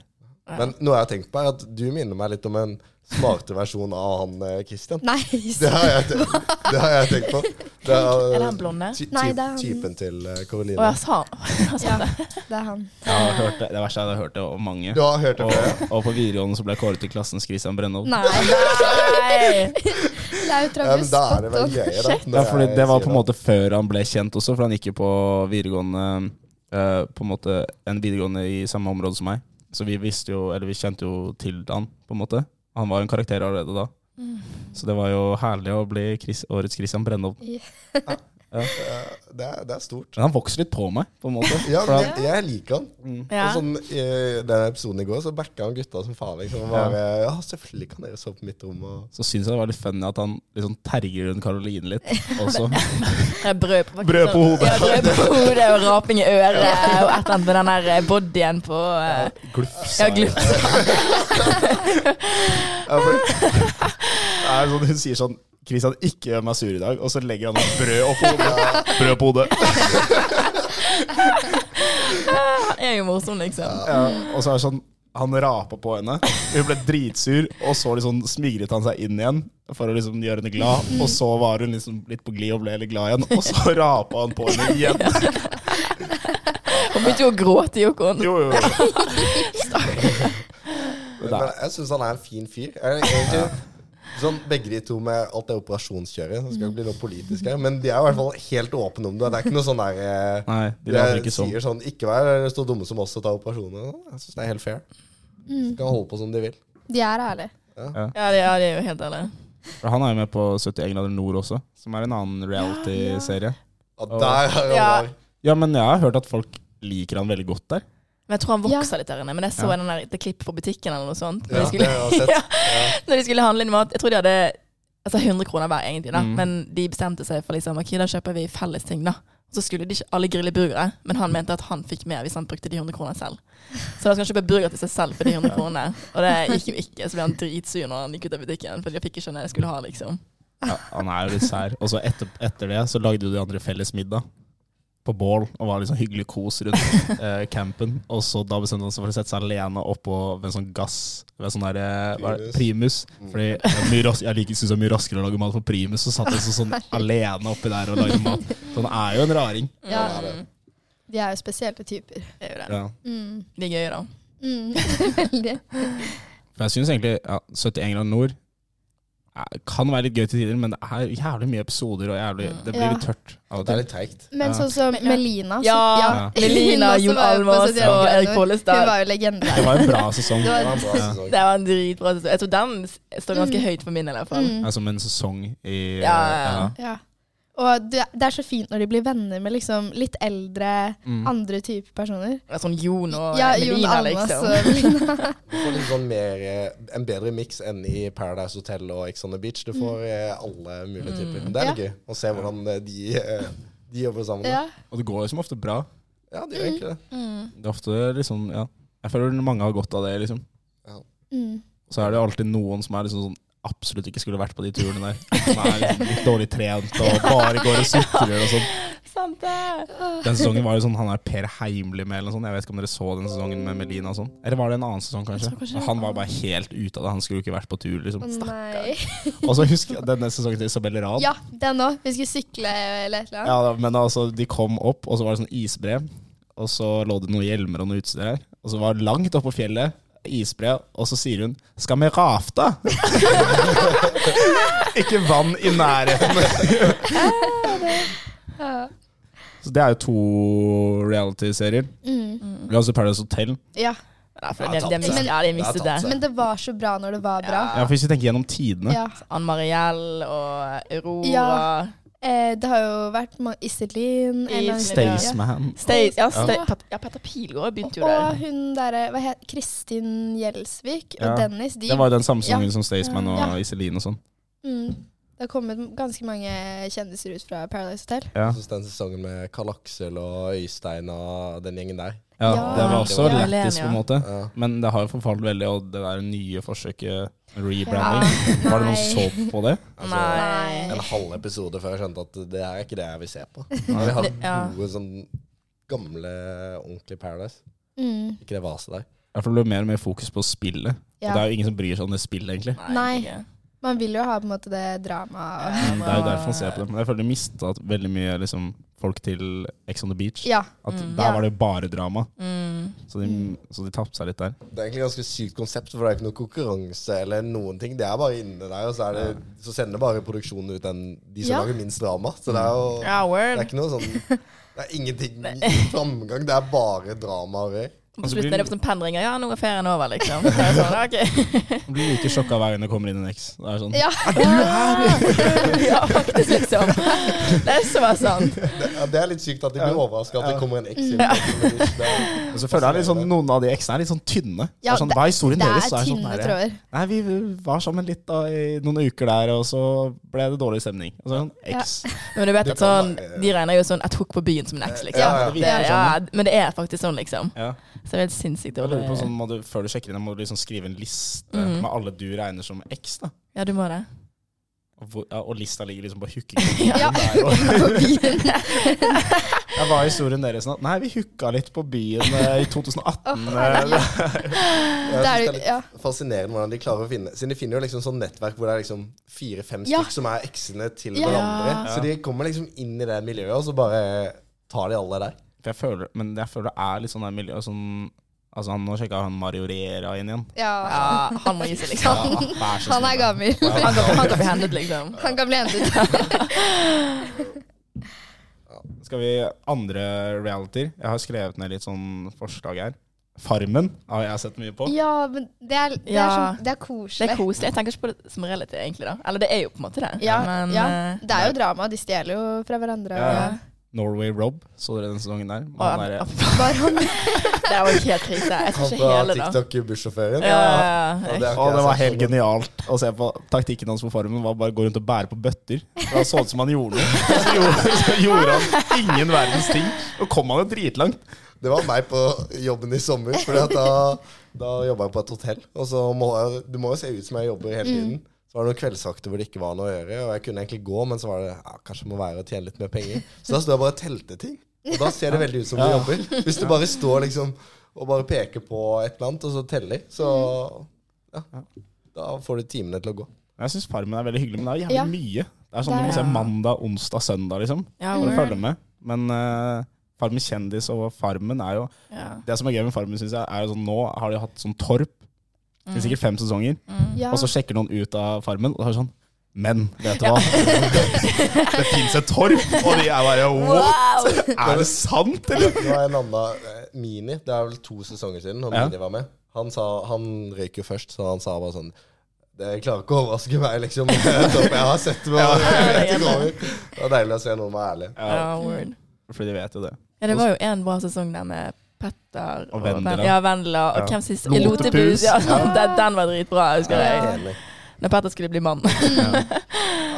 [SPEAKER 4] Men noe jeg har tenkt på, er at du minner meg litt om en smartere versjon av han eh, Christian.
[SPEAKER 6] Nei,
[SPEAKER 4] Det har jeg tenkt, det har jeg tenkt på. Det er,
[SPEAKER 5] Er det han blonde?
[SPEAKER 4] Ty, ty,
[SPEAKER 6] Nei, det er han-
[SPEAKER 4] Typen til eh,
[SPEAKER 5] Å,
[SPEAKER 4] Karoline.
[SPEAKER 5] jeg sa jeg sa
[SPEAKER 6] Ja,
[SPEAKER 5] det.
[SPEAKER 6] det er han.
[SPEAKER 3] Jeg har hørt det, det verste er at jeg har hørt det om mange.
[SPEAKER 4] Du har hørt det
[SPEAKER 3] Og,
[SPEAKER 4] før?
[SPEAKER 3] og på videregående så ble jeg kåret til klassens Christian Brennhold.
[SPEAKER 6] Nei,
[SPEAKER 5] Nei!
[SPEAKER 6] det er jo
[SPEAKER 4] Ja, men
[SPEAKER 6] Travis
[SPEAKER 4] da er det vel
[SPEAKER 6] Potten.
[SPEAKER 4] gøyere, da.
[SPEAKER 3] Ja,
[SPEAKER 4] når
[SPEAKER 3] fordi
[SPEAKER 4] jeg
[SPEAKER 3] det var
[SPEAKER 4] sier
[SPEAKER 3] på en måte før han ble kjent også, for han gikk jo på videregående eh, På en måte en videregående i samme område som meg. Så vi visste jo, eller vi kjente jo til han, på en måte. Han var jo en karakter allerede da. Så det var jo herlig å bli Chris, årets Christian Brennhold.
[SPEAKER 4] Eh, Det er, det er stort.
[SPEAKER 3] Men han vokser litt på meg, på en måte.
[SPEAKER 4] Ja,
[SPEAKER 3] For
[SPEAKER 4] men
[SPEAKER 3] han,
[SPEAKER 4] jeg, jeg liker han.
[SPEAKER 5] Ja.
[SPEAKER 4] Og sånn, I den episoden i går så backa han gutta som faen. Liksom, og bare, ja, selvfølgelig kan dere sove på mitt rom. Og
[SPEAKER 3] så syns jeg det var litt funny at han liksom terger rundt Karoline litt også.
[SPEAKER 5] Det er Brød på,
[SPEAKER 3] Brød på hodet.
[SPEAKER 5] Ja, brød på hodet og raping i øret og et eller annet med den der eh, bodyen på eh,
[SPEAKER 3] Glufsa.
[SPEAKER 5] Ja, glufsa.
[SPEAKER 3] Ja, for det er sånn, hun sier sånn Kristian, ikke gjør meg sur i dag. Og så legger han et brød opp på hodet. Brød på hodet.
[SPEAKER 5] Han er jo morsom, liksom.
[SPEAKER 3] Ja, og så er det sånn han rapa på henne. Hun ble dritsur, og så liksom smigret han seg inn igjen for å liksom gjøre henne glad. Og så var hun liksom litt på glid og ble litt glad igjen, og så rapa han på henne igjen.
[SPEAKER 5] Hun begynte jo å gråte, Jokoen.
[SPEAKER 3] Jo, jo, jo.
[SPEAKER 4] men jeg syns han er en fin fyr. Jeg, egentlig, Sånn, begge de to med alt det operasjonskjøret. Så skal jeg ikke bli noe politisk her, men de er i hvert fall helt åpne om det. Det er ikke noe sånn der eh,
[SPEAKER 3] Nei, de later
[SPEAKER 4] jeg
[SPEAKER 3] ikke sånn.
[SPEAKER 4] sier sånn Ikke vær så dumme som oss og ta operasjoner. Jeg syns det er helt fair. De Skal holde på som de vil.
[SPEAKER 6] De er ærlige.
[SPEAKER 5] Ja, det, ja, det er jo helt ærlig.
[SPEAKER 3] For han er jo med på 71 grader nord også, som er en annen reality-serie.
[SPEAKER 4] Ja, der er
[SPEAKER 5] Ja.
[SPEAKER 4] han der.
[SPEAKER 3] Ja, men jeg har hørt at folk liker han veldig godt der.
[SPEAKER 5] Men jeg tror han vokser
[SPEAKER 6] Ja.
[SPEAKER 5] litt der inne. Men jeg så
[SPEAKER 3] Ja.
[SPEAKER 5] en den der, et klipp på butikken eller noe sånt. Når,
[SPEAKER 4] Ja,
[SPEAKER 5] de
[SPEAKER 4] det
[SPEAKER 5] skulle,
[SPEAKER 4] har jeg sett.
[SPEAKER 5] Ja.
[SPEAKER 4] Ja.
[SPEAKER 5] når de skulle handle inn mat. Jeg tror de hadde altså 100 kroner hver, egentlig,
[SPEAKER 4] Mm.
[SPEAKER 5] da. men de bestemte seg for liksom, ok, da kjøper vi felles ting. da. Og så skulle de ikke alle grille burgere, men han mente at han fikk mer hvis han brukte de 100 kronene selv. Så da skal han kjøpe burger til seg selv for de 100 kronene. Og det gikk jo ikke, så ble han dritsur når han gikk ut av butikken, for jeg fikk ikke hva jeg skulle ha, liksom.
[SPEAKER 3] Ja, han er jo litt sær. Og så etter, etter det så lagde jo de andre felles middag på bål, og var liksom hyggelig kos rundt eh, campen. Og så da bestemte han seg for å sette seg alene oppå ved en sånn gass, ved en sånn der, eh, hva er det, primus. Fordi det er mye ras- jeg liker, synes det er mye raskere å lage mat på primus, så satt han sånn, sånn alene oppi der og lagde mat. Så han er jo en raring.
[SPEAKER 6] Ja,
[SPEAKER 4] det er det.
[SPEAKER 6] de er jo spesielle typer.
[SPEAKER 5] Det er jo det.
[SPEAKER 3] Ja.
[SPEAKER 6] Mm.
[SPEAKER 5] Det er gøy, da.
[SPEAKER 6] Mm. Veldig.
[SPEAKER 3] For jeg synes egentlig ja, 71 grader nord eh, kan være litt gøy til tider, men det er jævlig mye episoder, og jævlig, det blir
[SPEAKER 6] Ja.
[SPEAKER 3] litt tørt. av og
[SPEAKER 4] Det
[SPEAKER 3] til.
[SPEAKER 4] er litt treigt.
[SPEAKER 6] Men
[SPEAKER 3] Ja.
[SPEAKER 6] sånn som
[SPEAKER 5] Men- ja.
[SPEAKER 6] Melina. så-
[SPEAKER 5] Ja,
[SPEAKER 3] Ja.
[SPEAKER 5] Melina,
[SPEAKER 6] Hun også
[SPEAKER 5] Jon
[SPEAKER 6] var jo på
[SPEAKER 5] Almås
[SPEAKER 6] 71
[SPEAKER 5] og Erik
[SPEAKER 6] grader.
[SPEAKER 5] Pollestad.
[SPEAKER 6] Hun var jo legende.
[SPEAKER 3] Det var en bra sesong.
[SPEAKER 6] Det
[SPEAKER 4] Det
[SPEAKER 6] var-
[SPEAKER 4] var en bra
[SPEAKER 3] Ja.
[SPEAKER 4] sesong.
[SPEAKER 5] Det var en dritbra sesong. Jeg tror den står ganske høyt for min, i hvert fall.
[SPEAKER 6] Mm.
[SPEAKER 3] Ja, Som Altså, en sesong i
[SPEAKER 5] Ja, ja, ja.
[SPEAKER 6] Ja. Og det, det er så fint når de blir venner med liksom litt eldre,
[SPEAKER 4] Mm.
[SPEAKER 6] andre typer personer.
[SPEAKER 5] Det er sånn Jon og
[SPEAKER 6] Ja, Jon
[SPEAKER 5] Melina,
[SPEAKER 6] Almas
[SPEAKER 5] liksom.
[SPEAKER 6] og Melina.
[SPEAKER 4] Du får litt sånn mer, eh, en bedre miks enn i Paradise Hotel og Ex on the Beach. Du
[SPEAKER 5] Mm.
[SPEAKER 4] får eh, alle mulige typer. Det er litt gøy å se hvordan eh, de, eh, de jobber sammen. da.
[SPEAKER 6] Ja.
[SPEAKER 3] Og det går jo som ofte bra.
[SPEAKER 4] Ja, de gjør
[SPEAKER 5] Mm.
[SPEAKER 4] egentlig det.
[SPEAKER 3] Det er ofte liksom, ja. Jeg føler mange har godt av det, liksom.
[SPEAKER 6] Mm.
[SPEAKER 3] Og så er det jo alltid noen som er liksom sånn absolutt ikke skulle vært på de turene der. Som er liksom litt dårlig trent og bare går og sutrer og sånn.
[SPEAKER 5] Sant det.
[SPEAKER 3] Den sesongen var jo sånn han er Per Heimly med eller noe sånt. Jeg vet ikke om dere så den sesongen med Melina og sånn. Eller var det en annen sesong, kanskje?
[SPEAKER 5] Jeg tror kanskje det var
[SPEAKER 3] Han var bare helt ute av det. Han skulle jo ikke vært på tur, liksom.
[SPEAKER 6] Å nei.
[SPEAKER 3] Og så husker jeg denne sesongen til Isabel Rad.
[SPEAKER 6] Ja, den òg. Vi skulle sykle eller et eller annet.
[SPEAKER 3] Ja, da, men altså, de kom opp, og så var det sånn isbre. Og så lå det noen hjelmer og noe utstyr her. Og så var det langt oppe på fjellet, isbre, og så sier hun 'skal vi rafte'? Ikke vann i nærheten.
[SPEAKER 6] Ja.
[SPEAKER 3] så det er jo to reality-serier.
[SPEAKER 6] Mm.
[SPEAKER 3] Vi har også Paradise Hotel.
[SPEAKER 6] ja.
[SPEAKER 5] Ja, for
[SPEAKER 4] Det har
[SPEAKER 5] det, det,
[SPEAKER 4] tatt
[SPEAKER 5] mist-
[SPEAKER 4] seg.
[SPEAKER 5] ja, de
[SPEAKER 4] Det har
[SPEAKER 5] mistet
[SPEAKER 4] tatt
[SPEAKER 5] det.
[SPEAKER 4] seg.
[SPEAKER 6] Men det var så bra når det var bra.
[SPEAKER 3] Ja, for Hvis vi tenker gjennom tidene
[SPEAKER 6] Ja.
[SPEAKER 5] Ann Mariell og Aurora
[SPEAKER 6] Ja. Eh, det har jo vært mange Iselin en eller annen-
[SPEAKER 3] Staysman.
[SPEAKER 5] Stay, ja, Stay,
[SPEAKER 6] Ja.
[SPEAKER 5] Pat, ja, Petter Pilgaard begynte jo
[SPEAKER 6] Og
[SPEAKER 5] der.
[SPEAKER 6] hun derre Hva het Kristin Gjelsvik
[SPEAKER 3] Ja.
[SPEAKER 6] og Dennis. De,
[SPEAKER 3] Det var jo den samme sesongen
[SPEAKER 6] Ja.
[SPEAKER 3] som Staysman og
[SPEAKER 6] Ja.
[SPEAKER 3] Iselin og sånn.
[SPEAKER 6] mm, det har kommet ganske mange kjendiser ut fra Paradise Hotel.
[SPEAKER 3] Ja.
[SPEAKER 4] Jeg synes den sesongen med Karl Aksel og Øystein og den gjengen der.
[SPEAKER 3] Ja,
[SPEAKER 6] Ja.
[SPEAKER 3] Det var også
[SPEAKER 5] Ja.
[SPEAKER 3] lættis, på en måte.
[SPEAKER 4] Ja.
[SPEAKER 3] Men det har jo forfalt veldig, og det der nye forsøket,
[SPEAKER 6] Ja,
[SPEAKER 3] rebranding Var det noen som så på det?
[SPEAKER 4] Altså,
[SPEAKER 5] Nei.
[SPEAKER 4] En halv episode før jeg skjønte at det her er ikke det jeg vil se på. Jeg vil ha
[SPEAKER 5] Det- ja.
[SPEAKER 4] gode, sånn gamle, ordentlige Paradise.
[SPEAKER 6] Mm,
[SPEAKER 4] Ikke det vaset der.
[SPEAKER 3] Jeg får mer og mer fokus på spillet. Og
[SPEAKER 6] ja.
[SPEAKER 3] det er jo ingen som bryr seg om det spillet, egentlig.
[SPEAKER 6] Nei.
[SPEAKER 5] ikke.
[SPEAKER 6] Man vil jo ha på en måte det dramaet. og-
[SPEAKER 3] Det er jo derfor man ser på det. Men jeg føler de mista veldig mye liksom, folk til Ex on the Beach.
[SPEAKER 6] Ja.
[SPEAKER 3] At
[SPEAKER 5] Mm.
[SPEAKER 3] Der
[SPEAKER 6] Ja.
[SPEAKER 3] var det jo bare drama,
[SPEAKER 5] Mm.
[SPEAKER 3] så de, så de tapte seg litt der.
[SPEAKER 4] Det er egentlig ganske sykt konsept, for det er ikke noe konkurranse eller noen ting. Det er bare inne der, og så, er det, så sender bare produksjonen ut den, de som
[SPEAKER 6] Ja.
[SPEAKER 4] lager minst drama. Så det er jo
[SPEAKER 5] Ja,
[SPEAKER 4] det er
[SPEAKER 5] word.
[SPEAKER 4] ikke noe sånn Det er ingenting framgang. Det er bare drama og rør.
[SPEAKER 5] På
[SPEAKER 3] Altså,
[SPEAKER 5] slutten
[SPEAKER 3] blir-
[SPEAKER 5] er det på sånn pennringer. Ja, nå er ferien over, liksom. Så er det sånn, ok.
[SPEAKER 3] Jeg blir like sjokka hver gang det kommer inn en X. Det er sånn
[SPEAKER 6] ja.
[SPEAKER 5] Ja, faktisk, liksom. Det er så sant.
[SPEAKER 4] Det, ja, det er litt sykt at de blir overraska at det kommer en X inn.
[SPEAKER 3] Men så føler jeg litt sånn, Noen av de X-ene er litt sånn tynne. Det
[SPEAKER 6] Ja,
[SPEAKER 3] er sånn,
[SPEAKER 6] det-
[SPEAKER 3] Hva er historien
[SPEAKER 6] Det
[SPEAKER 3] deres?
[SPEAKER 6] er
[SPEAKER 3] Så er det sånn
[SPEAKER 6] tynne
[SPEAKER 3] der,
[SPEAKER 6] tråder.
[SPEAKER 3] Nei, vi var sammen litt da, i noen uker der, og så ble det dårlig stemning. Og så er det sånn, X.
[SPEAKER 5] Men du vet
[SPEAKER 4] Det
[SPEAKER 5] at sånn,
[SPEAKER 4] kan være-
[SPEAKER 5] de regner jo sånn ad hoc på byen som en X, liksom.
[SPEAKER 4] Ja, ja.
[SPEAKER 5] Det, ja, men det er faktisk sånn, liksom.
[SPEAKER 3] Ja.
[SPEAKER 5] Så det er helt sinnssykt
[SPEAKER 3] Jeg lurer på sånn,
[SPEAKER 5] dårlig.
[SPEAKER 3] må du, Før du sjekker inn, må du liksom skrive en liste
[SPEAKER 5] Mhm.
[SPEAKER 3] med alle du regner som X. da.
[SPEAKER 5] Ja, du må det.
[SPEAKER 3] Og, hvor, ja, og lista ligger liksom på hooking.
[SPEAKER 6] Ja.
[SPEAKER 3] Der, og,
[SPEAKER 6] På byen.
[SPEAKER 3] ja, hva er historien deres nå? Nei, vi hooka litt på byen eh, i 2018. eh,
[SPEAKER 4] Jeg synes det er
[SPEAKER 6] Det er jo-
[SPEAKER 4] litt
[SPEAKER 6] ja.
[SPEAKER 4] fascinerende hvordan de klarer å finne Siden de finner jo liksom sånn nettverk hvor det er liksom fire-fem
[SPEAKER 6] Ja.
[SPEAKER 4] stykk som er X-ene til
[SPEAKER 6] Ja.
[SPEAKER 4] hverandre. Så de kommer liksom inn i det miljøet, og så bare tar de alle der.
[SPEAKER 3] for jeg føler, men jeg føler det er litt sånn der miljø sånn, Altså, han, nå sjekka han Mario Riera inn igjen.
[SPEAKER 6] Ja.
[SPEAKER 5] Ja, han må gi seg,
[SPEAKER 3] Ja,
[SPEAKER 5] liksom.
[SPEAKER 3] vær så
[SPEAKER 6] Han
[SPEAKER 3] snill,
[SPEAKER 6] er
[SPEAKER 3] da.
[SPEAKER 6] gammel.
[SPEAKER 5] Han kan, han kan bli hendet, liksom.
[SPEAKER 6] Han kan bli hentet.
[SPEAKER 3] Skal vi andre reality? Jeg har skrevet ned litt sånn forslag her. Farmen har jeg sett mye på.
[SPEAKER 6] Ja, men det er, det er,
[SPEAKER 5] Ja.
[SPEAKER 6] sånn, det er
[SPEAKER 5] Det
[SPEAKER 6] koselig.
[SPEAKER 5] er koselig. Jeg tenker ikke på det som reality, egentlig. da. Eller det er jo på en måte det.
[SPEAKER 6] Ja,
[SPEAKER 5] Men
[SPEAKER 6] ja.
[SPEAKER 5] eh,
[SPEAKER 6] Det er jo drama. De stjeler jo fra hverandre.
[SPEAKER 3] Ja, ja.
[SPEAKER 6] og-
[SPEAKER 3] Norway Rob, så dere den sesongen der?
[SPEAKER 5] å,
[SPEAKER 3] Han eh,
[SPEAKER 5] ja,
[SPEAKER 3] der
[SPEAKER 6] Baron.
[SPEAKER 5] det var jo helt krise. Jeg tror
[SPEAKER 4] Han
[SPEAKER 5] ikke
[SPEAKER 4] fra
[SPEAKER 5] hele, da.
[SPEAKER 4] TikTok i bussjåføren?
[SPEAKER 5] Ja, ja, ja.
[SPEAKER 4] Ja, det
[SPEAKER 3] Å,
[SPEAKER 4] har ikke jeg
[SPEAKER 3] det var
[SPEAKER 4] sett.
[SPEAKER 3] helt genialt å se på. Taktikken hans på farmen var bare å gå rundt og bære på bøtter. For Han så ut som han gjorde noe. Så gjorde, så gjorde han ingen verdens ting. Og kom han jo dritlangt.
[SPEAKER 4] Det var meg på jobben i sommer. Fordi at da, da jobba jeg på et hotell. Og så må jeg, du må jo se ut som jeg jobber hele
[SPEAKER 5] Mm.
[SPEAKER 4] tiden. Så var det noen kveldsvakter hvor det ikke var noe å gjøre. Og jeg kunne egentlig gå, men så var det ja, kanskje jeg må være og tjene litt mer penger. Så da sto jeg bare og telte ting. Og da ser det veldig ut som du jobber. Hvis du bare står liksom og bare peker på et eller annet, og så teller, så
[SPEAKER 5] Mm.
[SPEAKER 4] ja, da får du timene til å gå.
[SPEAKER 3] Jeg syns Farmen er veldig hyggelig, men det er jo jævlig
[SPEAKER 6] Ja.
[SPEAKER 3] mye. Det er sånn Du må
[SPEAKER 5] Det Mm. er-
[SPEAKER 3] se mandag, onsdag, søndag, liksom.
[SPEAKER 5] Ja,
[SPEAKER 3] For å
[SPEAKER 5] word.
[SPEAKER 3] følge med. Men eh, Farmen kjendis og Farmen er jo
[SPEAKER 5] Ja.
[SPEAKER 3] Det som er gøy med Farmen, synes jeg, er jo sånn nå har de hatt sånn Torp
[SPEAKER 5] Mm.
[SPEAKER 3] i sikkert fem sesonger.
[SPEAKER 6] Ja.
[SPEAKER 3] Og så sjekker noen ut av Farmen, og så er det sånn Men, vet du hva? det fins et torp! Og de er bare What?! Er det sant, eller?
[SPEAKER 4] Det var en annen eh, Mini, det er vel to sesonger siden når
[SPEAKER 3] Ja.
[SPEAKER 4] Mini var med. Han, sa, han røyk jo først, så han sa bare sånn Det klarer ikke å overraske meg, liksom. Topp, Jeg har sett det, men jeg vet ikke over. Det var deilig å se noen være ærlig.
[SPEAKER 5] Ja, word.
[SPEAKER 3] Fordi de vet jo det.
[SPEAKER 5] Ja, det var jo en bra sesong der med Petter
[SPEAKER 3] Og Vendela.
[SPEAKER 5] Ven- Ja, Vendela. Og
[SPEAKER 3] Ja.
[SPEAKER 5] hvem sist?
[SPEAKER 3] Lotepus.
[SPEAKER 5] Lotepus. Ja, den, den var dritbra, husker jeg.
[SPEAKER 4] Enig.
[SPEAKER 5] Når Petter skulle bli mann.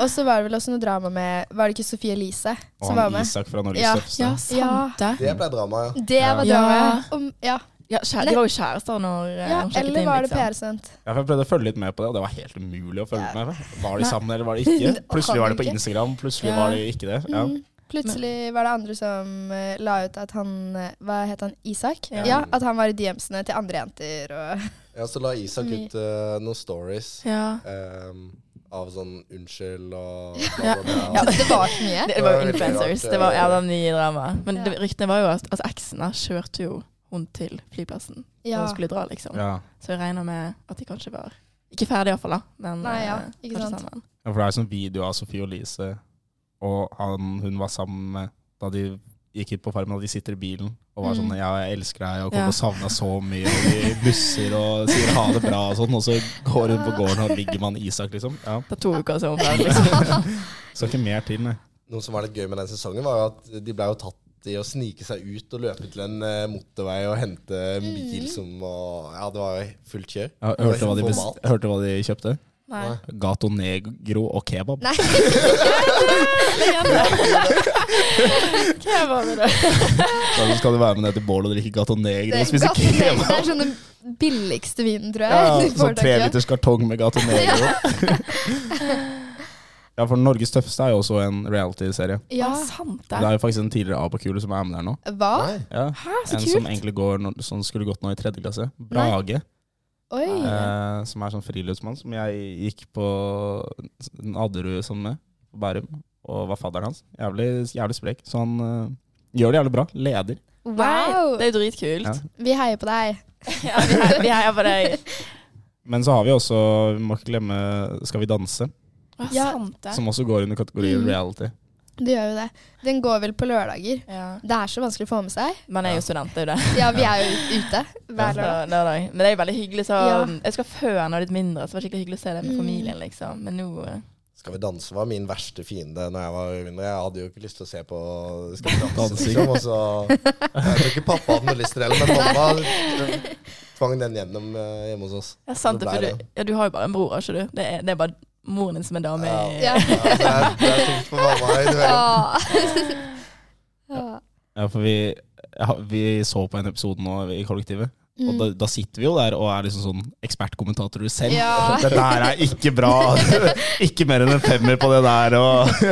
[SPEAKER 6] Og så var det vel også noe drama med Var det ikke Sofie Elise
[SPEAKER 3] Og
[SPEAKER 6] som var
[SPEAKER 3] han
[SPEAKER 6] med?
[SPEAKER 3] Isak fra Norges
[SPEAKER 6] Ja,
[SPEAKER 3] Tøffeste.
[SPEAKER 5] Ja,
[SPEAKER 6] Ja.
[SPEAKER 5] sant det.
[SPEAKER 4] Det ble drama, ja.
[SPEAKER 6] Det var
[SPEAKER 5] Ja.
[SPEAKER 6] drama. Om, ja.
[SPEAKER 5] Ja, kjære, de var jo kjærester når eh,
[SPEAKER 6] ja,
[SPEAKER 5] hun sjekket
[SPEAKER 6] eller
[SPEAKER 5] inn,
[SPEAKER 6] var det
[SPEAKER 5] liksom.
[SPEAKER 6] PR-sendt?
[SPEAKER 3] Ja, for jeg prøvde å følge litt med på det, og det var helt umulig å følge med på. Var de sammen, eller var de ikke? Plutselig var de på Instagram, plutselig
[SPEAKER 5] Ja.
[SPEAKER 3] var de ikke det. Ja.
[SPEAKER 6] Mm. Plutselig var det andre som eh, la ut at han eh, Hva het han? Isak? Ja. At han var i DM-ene til andre jenter og
[SPEAKER 4] ja. Så la Isak ut eh, noen stories
[SPEAKER 5] Ja.
[SPEAKER 4] ehm, av sånn unnskyld og bla,
[SPEAKER 5] Ja.
[SPEAKER 4] bla, bla.
[SPEAKER 5] Ja.
[SPEAKER 6] Det var ikke mye.
[SPEAKER 5] Det, det var
[SPEAKER 4] Ja, det
[SPEAKER 5] jo
[SPEAKER 4] er
[SPEAKER 5] influencers.
[SPEAKER 4] rart,
[SPEAKER 5] Det var
[SPEAKER 4] ja.
[SPEAKER 5] ja, den nye dramaet. Men
[SPEAKER 6] Ja.
[SPEAKER 5] det- ryktene var jo at altså, eksen da kjørte jo hun til flyplassen da
[SPEAKER 6] Ja.
[SPEAKER 5] hun skulle dra, liksom.
[SPEAKER 3] Ja.
[SPEAKER 5] Så jeg regner med at de kanskje var Ikke ferdig iallfall, da, men
[SPEAKER 6] Nei, ja,
[SPEAKER 5] eh,
[SPEAKER 6] ikke
[SPEAKER 5] kanskje
[SPEAKER 6] sant.
[SPEAKER 5] sammen.
[SPEAKER 3] Ja, for det er sånn video av Sofie og Lise, og han, hun var sammen med da de gikk ut på farmen, og de sitter i bilen og var sånn Ja, jeg elsker deg, og kommer
[SPEAKER 5] Ja.
[SPEAKER 3] til å savne deg så mye, og de busser og sier ha det bra og sånn, og så går hun på gården og ligger med han Isak, liksom. Ja.
[SPEAKER 5] Det er to uker så er hun ferdig, liksom.
[SPEAKER 3] Skal ikke mer til, nei.
[SPEAKER 4] Noe som var litt gøy med den sesongen, var jo at de ble jo tatt i å snike seg ut og løpe til en eh, motorvei og hente en bil som var Ja, det var jo fullt kjør.
[SPEAKER 3] Ja, hørte, hva de bes-
[SPEAKER 4] Format.
[SPEAKER 3] hørte hva de kjøpte?
[SPEAKER 5] Nei.
[SPEAKER 3] Gato negro og kebab.
[SPEAKER 6] Nei.
[SPEAKER 5] Hva var det da?
[SPEAKER 3] Da skal du være med ned til bålet og drikke gato negro og
[SPEAKER 6] Det,
[SPEAKER 3] spise
[SPEAKER 6] Gaten Egen, det er
[SPEAKER 3] kebab.
[SPEAKER 6] sånn den billigste vinen, tror jeg.
[SPEAKER 3] Ja,
[SPEAKER 6] du får
[SPEAKER 3] sånn tre
[SPEAKER 6] tak i.
[SPEAKER 3] liters kartong med gato negro. Ja, for Norges tøffeste er jo også en reality-serie.
[SPEAKER 6] Ja.
[SPEAKER 5] Ja, sant
[SPEAKER 3] Det
[SPEAKER 5] det.
[SPEAKER 3] er jo faktisk en tidligere A-på-kule som er med der nå.
[SPEAKER 6] Hva?
[SPEAKER 4] Nei.
[SPEAKER 3] Ja.
[SPEAKER 5] så
[SPEAKER 3] en
[SPEAKER 5] kult.
[SPEAKER 3] som egentlig går, nå- som skulle gått nå i tredje klasse. Brage.
[SPEAKER 6] Oi.
[SPEAKER 3] Eh, som er sånn friluftsmann som jeg gikk på Adderud sammen med. På Bærum. Og var fadderen hans. Jævlig, jævlig sprek. Så han eh, gjør det jævlig bra. Leder.
[SPEAKER 6] Wow.
[SPEAKER 5] Det er jo dritkult.
[SPEAKER 3] Ja.
[SPEAKER 6] Vi heier på deg.
[SPEAKER 5] Ja, vi heier- vi heier på deg.
[SPEAKER 3] Men så har vi også, vi må ikke glemme Skal vi danse,
[SPEAKER 5] Å,
[SPEAKER 6] Ja. Mm.
[SPEAKER 5] sant det.
[SPEAKER 3] som også går under kategorien reality.
[SPEAKER 6] Det gjør jo det. Den går vel på lørdager.
[SPEAKER 5] Ja.
[SPEAKER 6] Det er så vanskelig å få med seg.
[SPEAKER 5] Man er jo student, det er jo det.
[SPEAKER 6] Ja, vi er jo ute hver
[SPEAKER 5] Ja,
[SPEAKER 6] lørdag.
[SPEAKER 5] det er det. Men det er jo veldig hyggelig. Så,
[SPEAKER 6] Ja.
[SPEAKER 5] Jeg husker før, når jeg var litt mindre, så var det skikkelig hyggelig å se det med
[SPEAKER 6] Mm.
[SPEAKER 5] familien. liksom. Men nå eh,
[SPEAKER 4] Skal vi danse var min verste fiende når jeg var yngre. Jeg hadde jo ikke lyst til å se på Skal vi danse,
[SPEAKER 3] Dansing.
[SPEAKER 4] liksom. Og så Jeg tror ikke pappa hadde noe lyst til det heller, men mamma eh, tvang den gjennom eh, hjemme hos oss.
[SPEAKER 5] ja, sant, det,
[SPEAKER 4] Det ble
[SPEAKER 5] for du,
[SPEAKER 4] det.
[SPEAKER 5] ja, du har jo bare en bror, har ikke du? Det er, det er bare moren din som er dame. i-
[SPEAKER 6] Ja.
[SPEAKER 4] Ja, det, er, det er tungt for mamma innimellom.
[SPEAKER 6] Ah. Ja.
[SPEAKER 3] Ja, for vi, ja, vi så på en episode nå i kollektivet.
[SPEAKER 5] Mm.
[SPEAKER 3] Og da, da sitter vi jo der og er liksom sånn ekspertkommentatorer selv.
[SPEAKER 6] Ja.
[SPEAKER 3] Det der er ikke bra! ikke mer enn en femmer på det der, og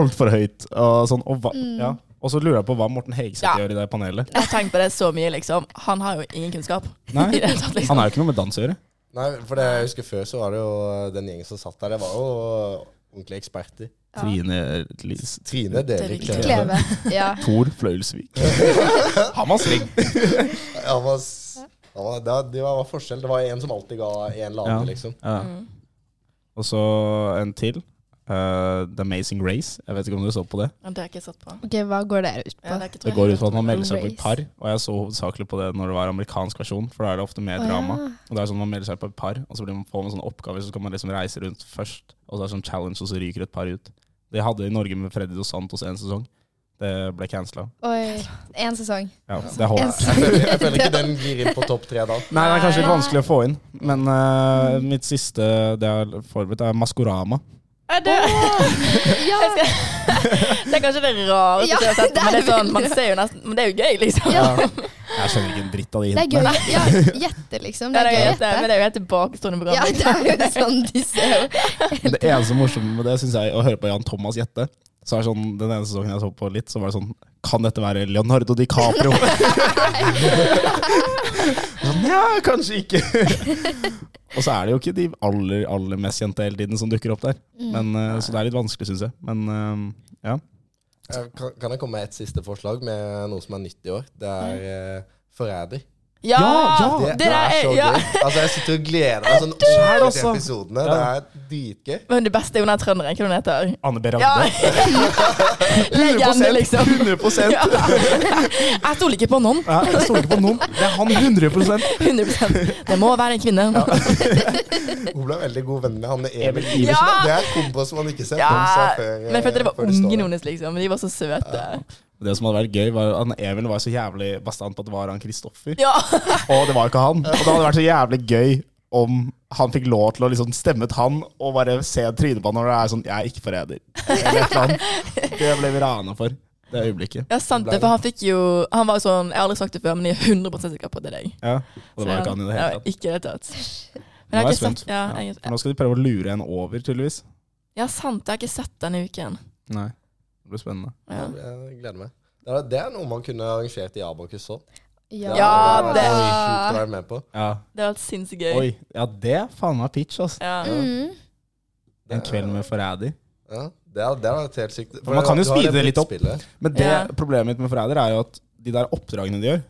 [SPEAKER 3] altfor høyt. Og, sånn, og, hva, ja. og så lurer jeg på hva Morten Hegseth
[SPEAKER 5] Mm. Ja.
[SPEAKER 3] gjør i det panelet.
[SPEAKER 5] Jeg har tenkt på det så mye, liksom. Han har jo ingen kunnskap.
[SPEAKER 3] Nei.
[SPEAKER 5] I det hele tatt, liksom.
[SPEAKER 3] Han er jo ikke noe med dans å gjøre.
[SPEAKER 4] Nei, for det jeg husker før, så var det jo eh, den gjengen som satt der, det var jo eh, ordentlige eksperter.
[SPEAKER 3] Trine Lise
[SPEAKER 4] Trine Delik
[SPEAKER 5] Delik.
[SPEAKER 4] Kleve.
[SPEAKER 6] Kleve. Ja.
[SPEAKER 3] Tor Fløyelsvik. Han var streng.
[SPEAKER 4] Han var s- Det var, det, var- det var forskjell. Det var en som alltid ga en eller annen,
[SPEAKER 3] Ja.
[SPEAKER 4] liksom.
[SPEAKER 5] Mm.
[SPEAKER 3] Ja. Og så en til. eh, The Amazing Race. Jeg vet ikke om du så på det.
[SPEAKER 5] Ja, Det har jeg ikke satt på.
[SPEAKER 6] Ok, Hva går det her ut
[SPEAKER 5] Ja,
[SPEAKER 6] på?
[SPEAKER 5] det, er ikke,
[SPEAKER 3] Det går ut på at man melder seg på
[SPEAKER 6] Race.
[SPEAKER 3] et par, og jeg så hovedsakelig på det når det var amerikansk versjon, for da er det ofte mer
[SPEAKER 6] Å, ja.
[SPEAKER 3] drama. Og det er sånn Man melder seg på et par, og så blir man får man sånne oppgaver, så skal man liksom reise rundt først, og så er det sånn challenge, og så ryker et par ut. Det hadde vi i Norge med Freddy Dos Santos en sesong. Det ble cancella.
[SPEAKER 6] Oi, én sesong.
[SPEAKER 3] Ja, det holder.
[SPEAKER 6] En
[SPEAKER 4] Jeg
[SPEAKER 6] sesong.
[SPEAKER 4] føler, jeg føler ikke den gir inn på topp tre da.
[SPEAKER 3] Nei, det er kanskje litt vanskelig å få inn, men eh, mitt siste det jeg har forberedt, er Maskorama.
[SPEAKER 5] Er det,
[SPEAKER 6] Ja,
[SPEAKER 5] det er kanskje det rareste
[SPEAKER 6] Ja,
[SPEAKER 5] jeg har sett,
[SPEAKER 6] det er
[SPEAKER 5] men det er sånn,
[SPEAKER 6] veldig
[SPEAKER 5] man ser jo nesten Men det er jo gøy, liksom.
[SPEAKER 6] Ja.
[SPEAKER 3] Jeg skjønner ikke en dritt av de
[SPEAKER 6] det er gøy.
[SPEAKER 3] hintene.
[SPEAKER 6] Ja, gjette, liksom.
[SPEAKER 5] Det er gøy, at det, men
[SPEAKER 6] gjette.
[SPEAKER 5] det er jo helt tilbakestående program.
[SPEAKER 6] Ja, det er jo sånn de ser jo.
[SPEAKER 3] Det eneste morsomme med det synes jeg å høre på Jan Thomas gjette. Så er det sånn, Den ene sesongen jeg så på litt, så var det sånn Kan dette være Leonardo DiCaprio? sånn, ja, kanskje ikke. Og så er det jo ikke de aller aller mest kjente hele tiden som dukker opp der.
[SPEAKER 5] Mm.
[SPEAKER 3] Men, eh, så det er litt vanskelig, syns jeg. Men eh, ja.
[SPEAKER 4] Eh, Kan, kan jeg komme med et siste forslag med noe som er nytt i år? Det er eh, Forræder.
[SPEAKER 5] Ja,
[SPEAKER 3] Ja,
[SPEAKER 4] Det,
[SPEAKER 5] Mm. Det
[SPEAKER 4] det er
[SPEAKER 5] der
[SPEAKER 4] så
[SPEAKER 5] er-
[SPEAKER 4] gøy.
[SPEAKER 5] ja.
[SPEAKER 4] Altså, jeg sitter og gleder meg sånn
[SPEAKER 3] dør!
[SPEAKER 4] over de
[SPEAKER 3] Altså.
[SPEAKER 4] episodene. Det
[SPEAKER 3] Ja.
[SPEAKER 4] er dritgøy.
[SPEAKER 5] Men det beste er jo den her trønderen, hva er det hun heter?
[SPEAKER 3] Anne B.
[SPEAKER 5] Ja.
[SPEAKER 3] Ragde.
[SPEAKER 5] Legende, liksom.
[SPEAKER 3] 100
[SPEAKER 5] Ja. Jeg stoler ikke på noen.
[SPEAKER 3] Ja, Jeg stoler ikke på noen. Det er han 100
[SPEAKER 5] 100 Det må være en kvinne.
[SPEAKER 4] Hun ble veldig god venn med han Emil
[SPEAKER 3] Emil
[SPEAKER 4] Iversen.
[SPEAKER 5] Iversen. Ja!
[SPEAKER 4] Det er et kombo som man ikke ser
[SPEAKER 5] Ja,
[SPEAKER 4] på seg før. eh,
[SPEAKER 5] men jeg følte det
[SPEAKER 4] før
[SPEAKER 5] var
[SPEAKER 4] de står
[SPEAKER 5] ungen
[SPEAKER 4] der.
[SPEAKER 5] hennes, liksom. De var så søte.
[SPEAKER 3] Det som hadde vært gøy, var at Emil var så jævlig bastant på at det var han Kristoffer.
[SPEAKER 5] Ja.
[SPEAKER 3] Og det var ikke han. Og det hadde vært så jævlig gøy om han fikk lov til å liksom stemme ut han og bare se trynet på han når det er sånn 'jeg er ikke forræder'. Eller et eller annet. Det ble vi rana for. Det øyeblikket.
[SPEAKER 5] ja, sant det. For han fikk jo Han var jo sånn Jeg har aldri sagt det før, men jeg er 100 sikker på at det er deg.
[SPEAKER 3] Ja. Og det var jo ikke han i det hele
[SPEAKER 5] Ja,
[SPEAKER 3] tatt.
[SPEAKER 5] Ikke i det hele tatt. Men
[SPEAKER 3] Nå er
[SPEAKER 5] jeg har
[SPEAKER 3] jeg
[SPEAKER 5] ikke sett
[SPEAKER 3] spent.
[SPEAKER 5] ja,
[SPEAKER 3] Ja.
[SPEAKER 5] jeg,
[SPEAKER 3] For Nå skal de prøve å lure en over, tydeligvis.
[SPEAKER 5] ja, sant. Jeg har ikke sett denne uken.
[SPEAKER 3] Nei. Det blir spennende.
[SPEAKER 5] Ja.
[SPEAKER 4] Jeg gleder meg. Det er, det er noe man kunne arrangert i Abakus òg.
[SPEAKER 5] Ja,
[SPEAKER 4] det
[SPEAKER 5] det-
[SPEAKER 4] er sjukt å være med på.
[SPEAKER 3] Ja.
[SPEAKER 5] Det har vært sinnssykt gøy.
[SPEAKER 3] Oi. Ja, det faen meg pitch, altså.
[SPEAKER 5] Ja.
[SPEAKER 6] Mm.
[SPEAKER 3] En kveld med forræder.
[SPEAKER 4] Ja, det er, det er helt sykt. For
[SPEAKER 3] man kan jo
[SPEAKER 4] du har eh?
[SPEAKER 3] speede det litt opp.
[SPEAKER 4] brettspillet.
[SPEAKER 3] Men det
[SPEAKER 5] Ja.
[SPEAKER 3] problemet mitt med forræder er jo at de der oppdragene de gjør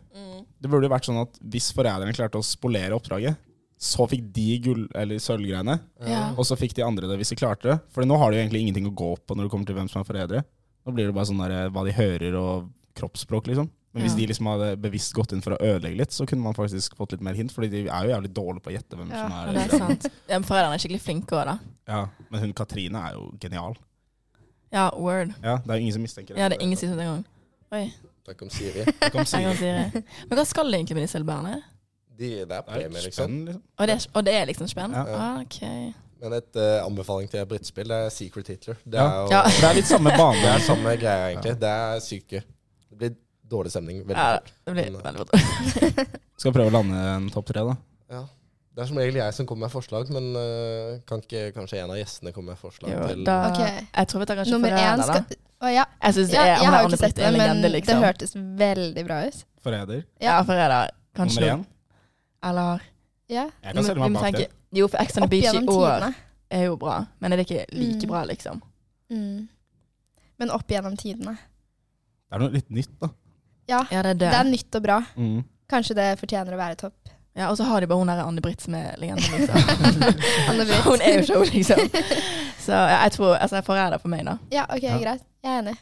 [SPEAKER 3] Det burde jo vært sånn at hvis forræderne klarte å spolere oppdraget, så fikk de gull- eller sølvgreiene,
[SPEAKER 5] Ja.
[SPEAKER 3] og så fikk de andre det hvis de klarte det. For nå har de jo egentlig ingenting å gå på når det kommer til hvem som er forrædere. Nå blir det bare sånn der, hva de hører og kroppsspråk, liksom. Men hvis
[SPEAKER 5] Ja.
[SPEAKER 3] de liksom hadde bevisst gått inn for å ødelegge litt, så kunne man faktisk fått litt mer hint, Fordi de er jo jævlig dårlige på å gjette hvem
[SPEAKER 6] Ja,
[SPEAKER 3] som er
[SPEAKER 5] Det er sant. Ja, men Foreldrene er skikkelig flinke òg, da.
[SPEAKER 3] Ja, Men hun Katrine er jo genial.
[SPEAKER 5] Ja, word.
[SPEAKER 3] Ja, Det er jo ingen som mistenker
[SPEAKER 5] Ja, det er ingen som sier det engang. Oi.
[SPEAKER 4] Takk om Siri.
[SPEAKER 3] Det kom
[SPEAKER 5] Jeg
[SPEAKER 3] Siri.
[SPEAKER 5] kan si det. Men hva skal det egentlig med disse ølbærene?
[SPEAKER 4] De, det
[SPEAKER 3] Det
[SPEAKER 4] er
[SPEAKER 3] er
[SPEAKER 4] premie,
[SPEAKER 3] litt
[SPEAKER 4] liksom.
[SPEAKER 3] spennende, liksom.
[SPEAKER 5] Og det, er- og det er liksom spenn?
[SPEAKER 3] Ja.
[SPEAKER 5] Ah, ok.
[SPEAKER 4] Men et eh, anbefaling til brettspill er Secret Hitler. Det
[SPEAKER 3] Ja.
[SPEAKER 4] er jo
[SPEAKER 5] Ja.
[SPEAKER 3] For det er litt samme bane.
[SPEAKER 4] det er samme greia, egentlig. Det er sykt gøy. Det blir dårlig stemning. Veldig
[SPEAKER 5] Ja,
[SPEAKER 4] fort.
[SPEAKER 5] det blir
[SPEAKER 4] Men-
[SPEAKER 5] veldig bra.
[SPEAKER 3] Skal prøve å lande en topp tre, da.
[SPEAKER 4] Ja. Det er som regel jeg som kommer med forslag, men eh, kan ikke kanskje en av gjestene komme med forslag
[SPEAKER 5] Jo,
[SPEAKER 4] til
[SPEAKER 5] da,
[SPEAKER 6] Ok.
[SPEAKER 5] Jeg tror vi tar kanskje
[SPEAKER 6] Nummer én
[SPEAKER 5] Foreldrene, da.
[SPEAKER 6] skal Å ja.
[SPEAKER 5] Jeg
[SPEAKER 6] ja.
[SPEAKER 5] synes det er,
[SPEAKER 6] Jeg
[SPEAKER 5] hun
[SPEAKER 6] har
[SPEAKER 5] er
[SPEAKER 6] jo ikke sett det,
[SPEAKER 5] en
[SPEAKER 6] men
[SPEAKER 5] legende,
[SPEAKER 6] det
[SPEAKER 5] liksom.
[SPEAKER 6] hørtes veldig bra ut.
[SPEAKER 3] Forræder.
[SPEAKER 5] Ja, Forræder. Kanskje.
[SPEAKER 3] Nummer én.
[SPEAKER 5] Eller
[SPEAKER 6] Ja.
[SPEAKER 3] Jeg kan stille
[SPEAKER 5] vi
[SPEAKER 3] meg
[SPEAKER 5] må
[SPEAKER 3] bak
[SPEAKER 5] tenke-
[SPEAKER 3] det.
[SPEAKER 5] Jo, for Ex on the
[SPEAKER 6] Opp
[SPEAKER 5] Beach i
[SPEAKER 6] gjennom
[SPEAKER 5] år
[SPEAKER 6] tidene.
[SPEAKER 5] er jo bra, men er det ikke like
[SPEAKER 6] Mm.
[SPEAKER 5] bra, liksom?
[SPEAKER 6] Mm. Men opp gjennom tidene.
[SPEAKER 3] Det er noe litt nytt, da. Mm.
[SPEAKER 6] Ja.
[SPEAKER 5] Ja, det er
[SPEAKER 6] Det
[SPEAKER 5] det.
[SPEAKER 6] er nytt og bra. Kanskje det fortjener å være topp.
[SPEAKER 5] Ja, og så har de bare hun der Anne-Britt som er legende, liksom.
[SPEAKER 6] Anne-Britt.
[SPEAKER 5] hun er jo show, liksom. Så ja, jeg tror altså, jeg Forræder for meg, da.
[SPEAKER 6] Ja, ok,
[SPEAKER 3] Ja.
[SPEAKER 6] greit. Jeg er enig.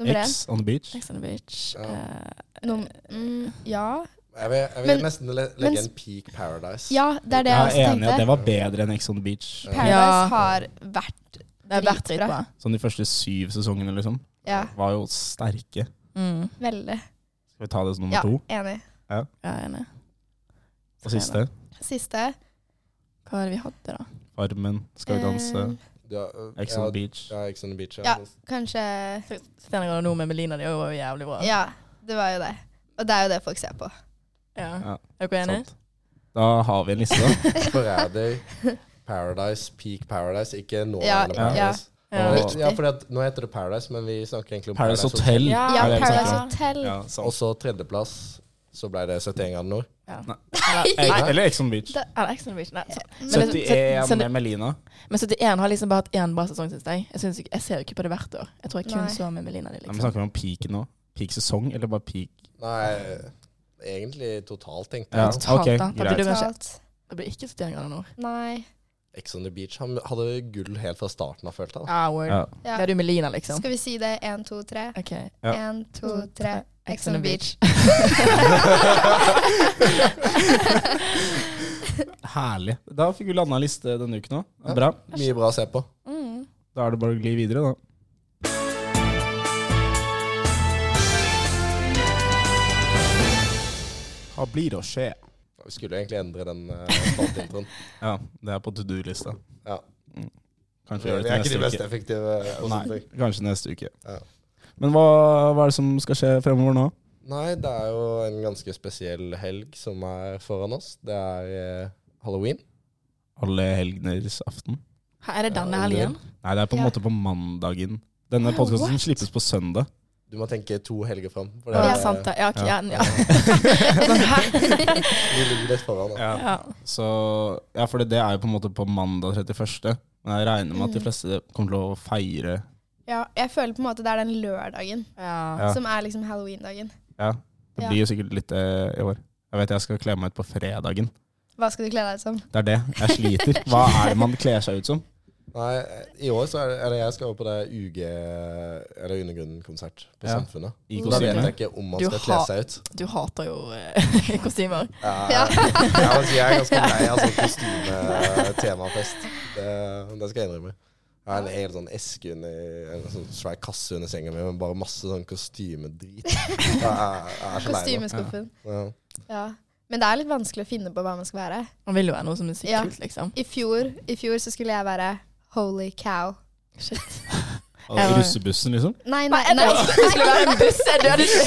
[SPEAKER 6] Nummer én.
[SPEAKER 3] X on the beach.
[SPEAKER 5] Ex on the Beach.
[SPEAKER 4] Ja.
[SPEAKER 5] eh,
[SPEAKER 6] Num mm, ja.
[SPEAKER 4] Jeg vil, jeg vil
[SPEAKER 6] Men-
[SPEAKER 4] nesten le
[SPEAKER 6] men-
[SPEAKER 4] legge en Peak Paradise.
[SPEAKER 6] ja, det er det
[SPEAKER 3] jeg
[SPEAKER 6] jeg
[SPEAKER 3] er enig i
[SPEAKER 6] også
[SPEAKER 3] at
[SPEAKER 6] tenkte.
[SPEAKER 3] det var bedre enn X on the beach.
[SPEAKER 6] Paradise
[SPEAKER 5] Ja.
[SPEAKER 6] har vært
[SPEAKER 5] det er verdt
[SPEAKER 6] Dritbra.
[SPEAKER 5] dritbra.
[SPEAKER 3] Sånn de første syv sesongene, liksom.
[SPEAKER 6] Ja,
[SPEAKER 3] Var jo sterke.
[SPEAKER 5] Mm.
[SPEAKER 6] veldig.
[SPEAKER 3] Skal vi ta det som nummer
[SPEAKER 6] Ja,
[SPEAKER 3] to?
[SPEAKER 6] enig.
[SPEAKER 5] Ja, jeg er enig.
[SPEAKER 3] Og siste.
[SPEAKER 6] Siste.
[SPEAKER 5] Hva var det vi hadde, da?
[SPEAKER 3] Farmen, Skal vi danse,
[SPEAKER 6] Eh,
[SPEAKER 4] Du har, øh,
[SPEAKER 3] X on
[SPEAKER 4] ja,
[SPEAKER 3] the beach.
[SPEAKER 4] Ja, Ex on the Beach.
[SPEAKER 6] Ja. kanskje
[SPEAKER 5] Steinar og Nordmenn med Melina, det var jo jævlig bra.
[SPEAKER 6] Ja, det var jo det. Og det er jo det folk ser på.
[SPEAKER 5] Ja.
[SPEAKER 3] Ja.
[SPEAKER 5] Er dere enige?
[SPEAKER 3] Sant. Da har vi en liste.
[SPEAKER 4] Forræder, Paradise, Peak Paradise, ikke nå.
[SPEAKER 6] Ja,
[SPEAKER 4] eller
[SPEAKER 3] ja.
[SPEAKER 4] Paradise.
[SPEAKER 5] Ja.
[SPEAKER 3] Og-
[SPEAKER 4] Eller- Ja, fordi at nå heter det Paradise, men vi snakker egentlig om
[SPEAKER 3] Paradise Hotel.
[SPEAKER 5] Ja,
[SPEAKER 6] Ja,
[SPEAKER 3] er det vi snakker
[SPEAKER 6] Paradise
[SPEAKER 3] om.
[SPEAKER 6] Hotel.
[SPEAKER 3] Ja,
[SPEAKER 4] Og
[SPEAKER 3] sant.
[SPEAKER 4] så tredjeplass, så ble det 71 grader nord.
[SPEAKER 3] Eh,
[SPEAKER 5] Eller,
[SPEAKER 3] Eller X on the beach.
[SPEAKER 6] Da-
[SPEAKER 5] eller Ex on the Beach. Nei, sant. Men liksom,
[SPEAKER 3] 71
[SPEAKER 5] sen-
[SPEAKER 3] med Melina.
[SPEAKER 5] Men 71 har liksom bare hatt én bra sesong, syns jeg. Jeg, synes ikke, jeg ser jo ikke på det hvert år. Jeg tror jeg kun
[SPEAKER 6] Nei.
[SPEAKER 5] så med Melina. De,
[SPEAKER 3] Nei, men sånn-
[SPEAKER 5] liksom.
[SPEAKER 3] snakker vi om peak nå? Peak sesong, eller bare peak
[SPEAKER 4] Nei, Egentlig totalt, tenkte
[SPEAKER 3] Ja,
[SPEAKER 4] jeg.
[SPEAKER 5] Totalt,
[SPEAKER 3] ok,
[SPEAKER 5] da. Da blir
[SPEAKER 3] greit.
[SPEAKER 5] du kanskje
[SPEAKER 6] Totalt.
[SPEAKER 5] Det blir ikke 71 grader nord.
[SPEAKER 6] Nei.
[SPEAKER 4] Ex on the beach han hadde gull helt fra starten av, følte jeg. da.
[SPEAKER 5] Ah, word.
[SPEAKER 3] Ja.
[SPEAKER 6] Ja.
[SPEAKER 5] Det er du med Lina, liksom.
[SPEAKER 6] Skal vi si det? Én, to, tre.
[SPEAKER 5] Ok.
[SPEAKER 3] Ja.
[SPEAKER 6] Én, to, tre. Ex on the beach.
[SPEAKER 3] Herlig. Da fikk vi landa en liste denne uken òg. Bra.
[SPEAKER 4] Mye bra å se på.
[SPEAKER 5] Mm.
[SPEAKER 3] Da er det bare å gli videre, da. Hva blir å skje?
[SPEAKER 4] Vi skulle jo egentlig endre den eh, spalteintroen.
[SPEAKER 3] Ja, det er på to do-lista.
[SPEAKER 4] Ja.
[SPEAKER 3] Mm.
[SPEAKER 4] Vi
[SPEAKER 3] Kanskje gjøre
[SPEAKER 4] er
[SPEAKER 3] det
[SPEAKER 4] ikke
[SPEAKER 3] til
[SPEAKER 4] de mest
[SPEAKER 3] neste uke.
[SPEAKER 4] effektive. eh,
[SPEAKER 3] Nei, kanskje neste uke.
[SPEAKER 4] Ja.
[SPEAKER 3] Men hva, hva er det som skal skje fremover nå?
[SPEAKER 4] Nei, det er jo en ganske spesiell helg som er foran oss. Det er eh, halloween.
[SPEAKER 3] Alle helgeners aften?
[SPEAKER 5] Her er det denne
[SPEAKER 4] Ja,
[SPEAKER 5] helgen?
[SPEAKER 3] Nei, det er på en
[SPEAKER 6] Ja.
[SPEAKER 3] måte på mandagen. Denne
[SPEAKER 5] Ah,
[SPEAKER 3] podkasten
[SPEAKER 5] what?
[SPEAKER 3] slippes på søndag.
[SPEAKER 4] Du må tenke to helger fram. For
[SPEAKER 5] Ja,
[SPEAKER 6] Ja.
[SPEAKER 5] sant det. Ja, ok, ja, ja. Sånn
[SPEAKER 4] Vi ligger litt foran. Da.
[SPEAKER 5] ja.
[SPEAKER 3] Så, ja, for det er jo på en måte på mandag 31. Men jeg regner med at de
[SPEAKER 6] Mm.
[SPEAKER 3] fleste kommer til å feire
[SPEAKER 6] Ja, jeg føler på en måte det er den lørdagen
[SPEAKER 5] ja.
[SPEAKER 3] Ja.
[SPEAKER 6] som er liksom halloween-dagen.
[SPEAKER 3] Ja, det
[SPEAKER 6] Ja.
[SPEAKER 3] blir jo sikkert litt det i år. Jeg vet jeg skal kle meg ut på fredagen.
[SPEAKER 6] Hva skal du kle deg ut som?
[SPEAKER 3] Det er det. Jeg sliter. Hva er det man kler seg ut som?
[SPEAKER 4] Nei, i år så er det, eller jeg skal jo på det UG, eller Undergrunnen-konsert på
[SPEAKER 3] Ja.
[SPEAKER 4] Samfunnet.
[SPEAKER 3] I
[SPEAKER 4] Så da vet
[SPEAKER 3] kostyme?
[SPEAKER 4] jeg ikke om man
[SPEAKER 5] Du
[SPEAKER 4] skal kle
[SPEAKER 5] har-
[SPEAKER 4] seg ut.
[SPEAKER 5] Du hater jo eh, kostymer.
[SPEAKER 4] Ja. Jeg, må si jeg er ganske lei av sånn kostymetemafest. Det, det skal jeg innrømme. Jeg har en hel sånn eske under En sånn svær kasse under senga mi med bare masse sånn kostymedrit. Jeg, er- jeg er så lei meg.
[SPEAKER 6] Kostymeskuffen.
[SPEAKER 4] Ja.
[SPEAKER 6] Ja. Men det er litt vanskelig å finne på hva man skal være.
[SPEAKER 5] Man vil jo være noe som er sykt
[SPEAKER 6] Ja.
[SPEAKER 5] kult, liksom.
[SPEAKER 6] I fjor, I fjor så skulle jeg være holy cow.
[SPEAKER 5] Shit.
[SPEAKER 3] Og Russebussen, liksom?
[SPEAKER 6] Nei, nei, nei.
[SPEAKER 5] Nei, jeg trodde det skulle være en buss. Jeg døde ikke.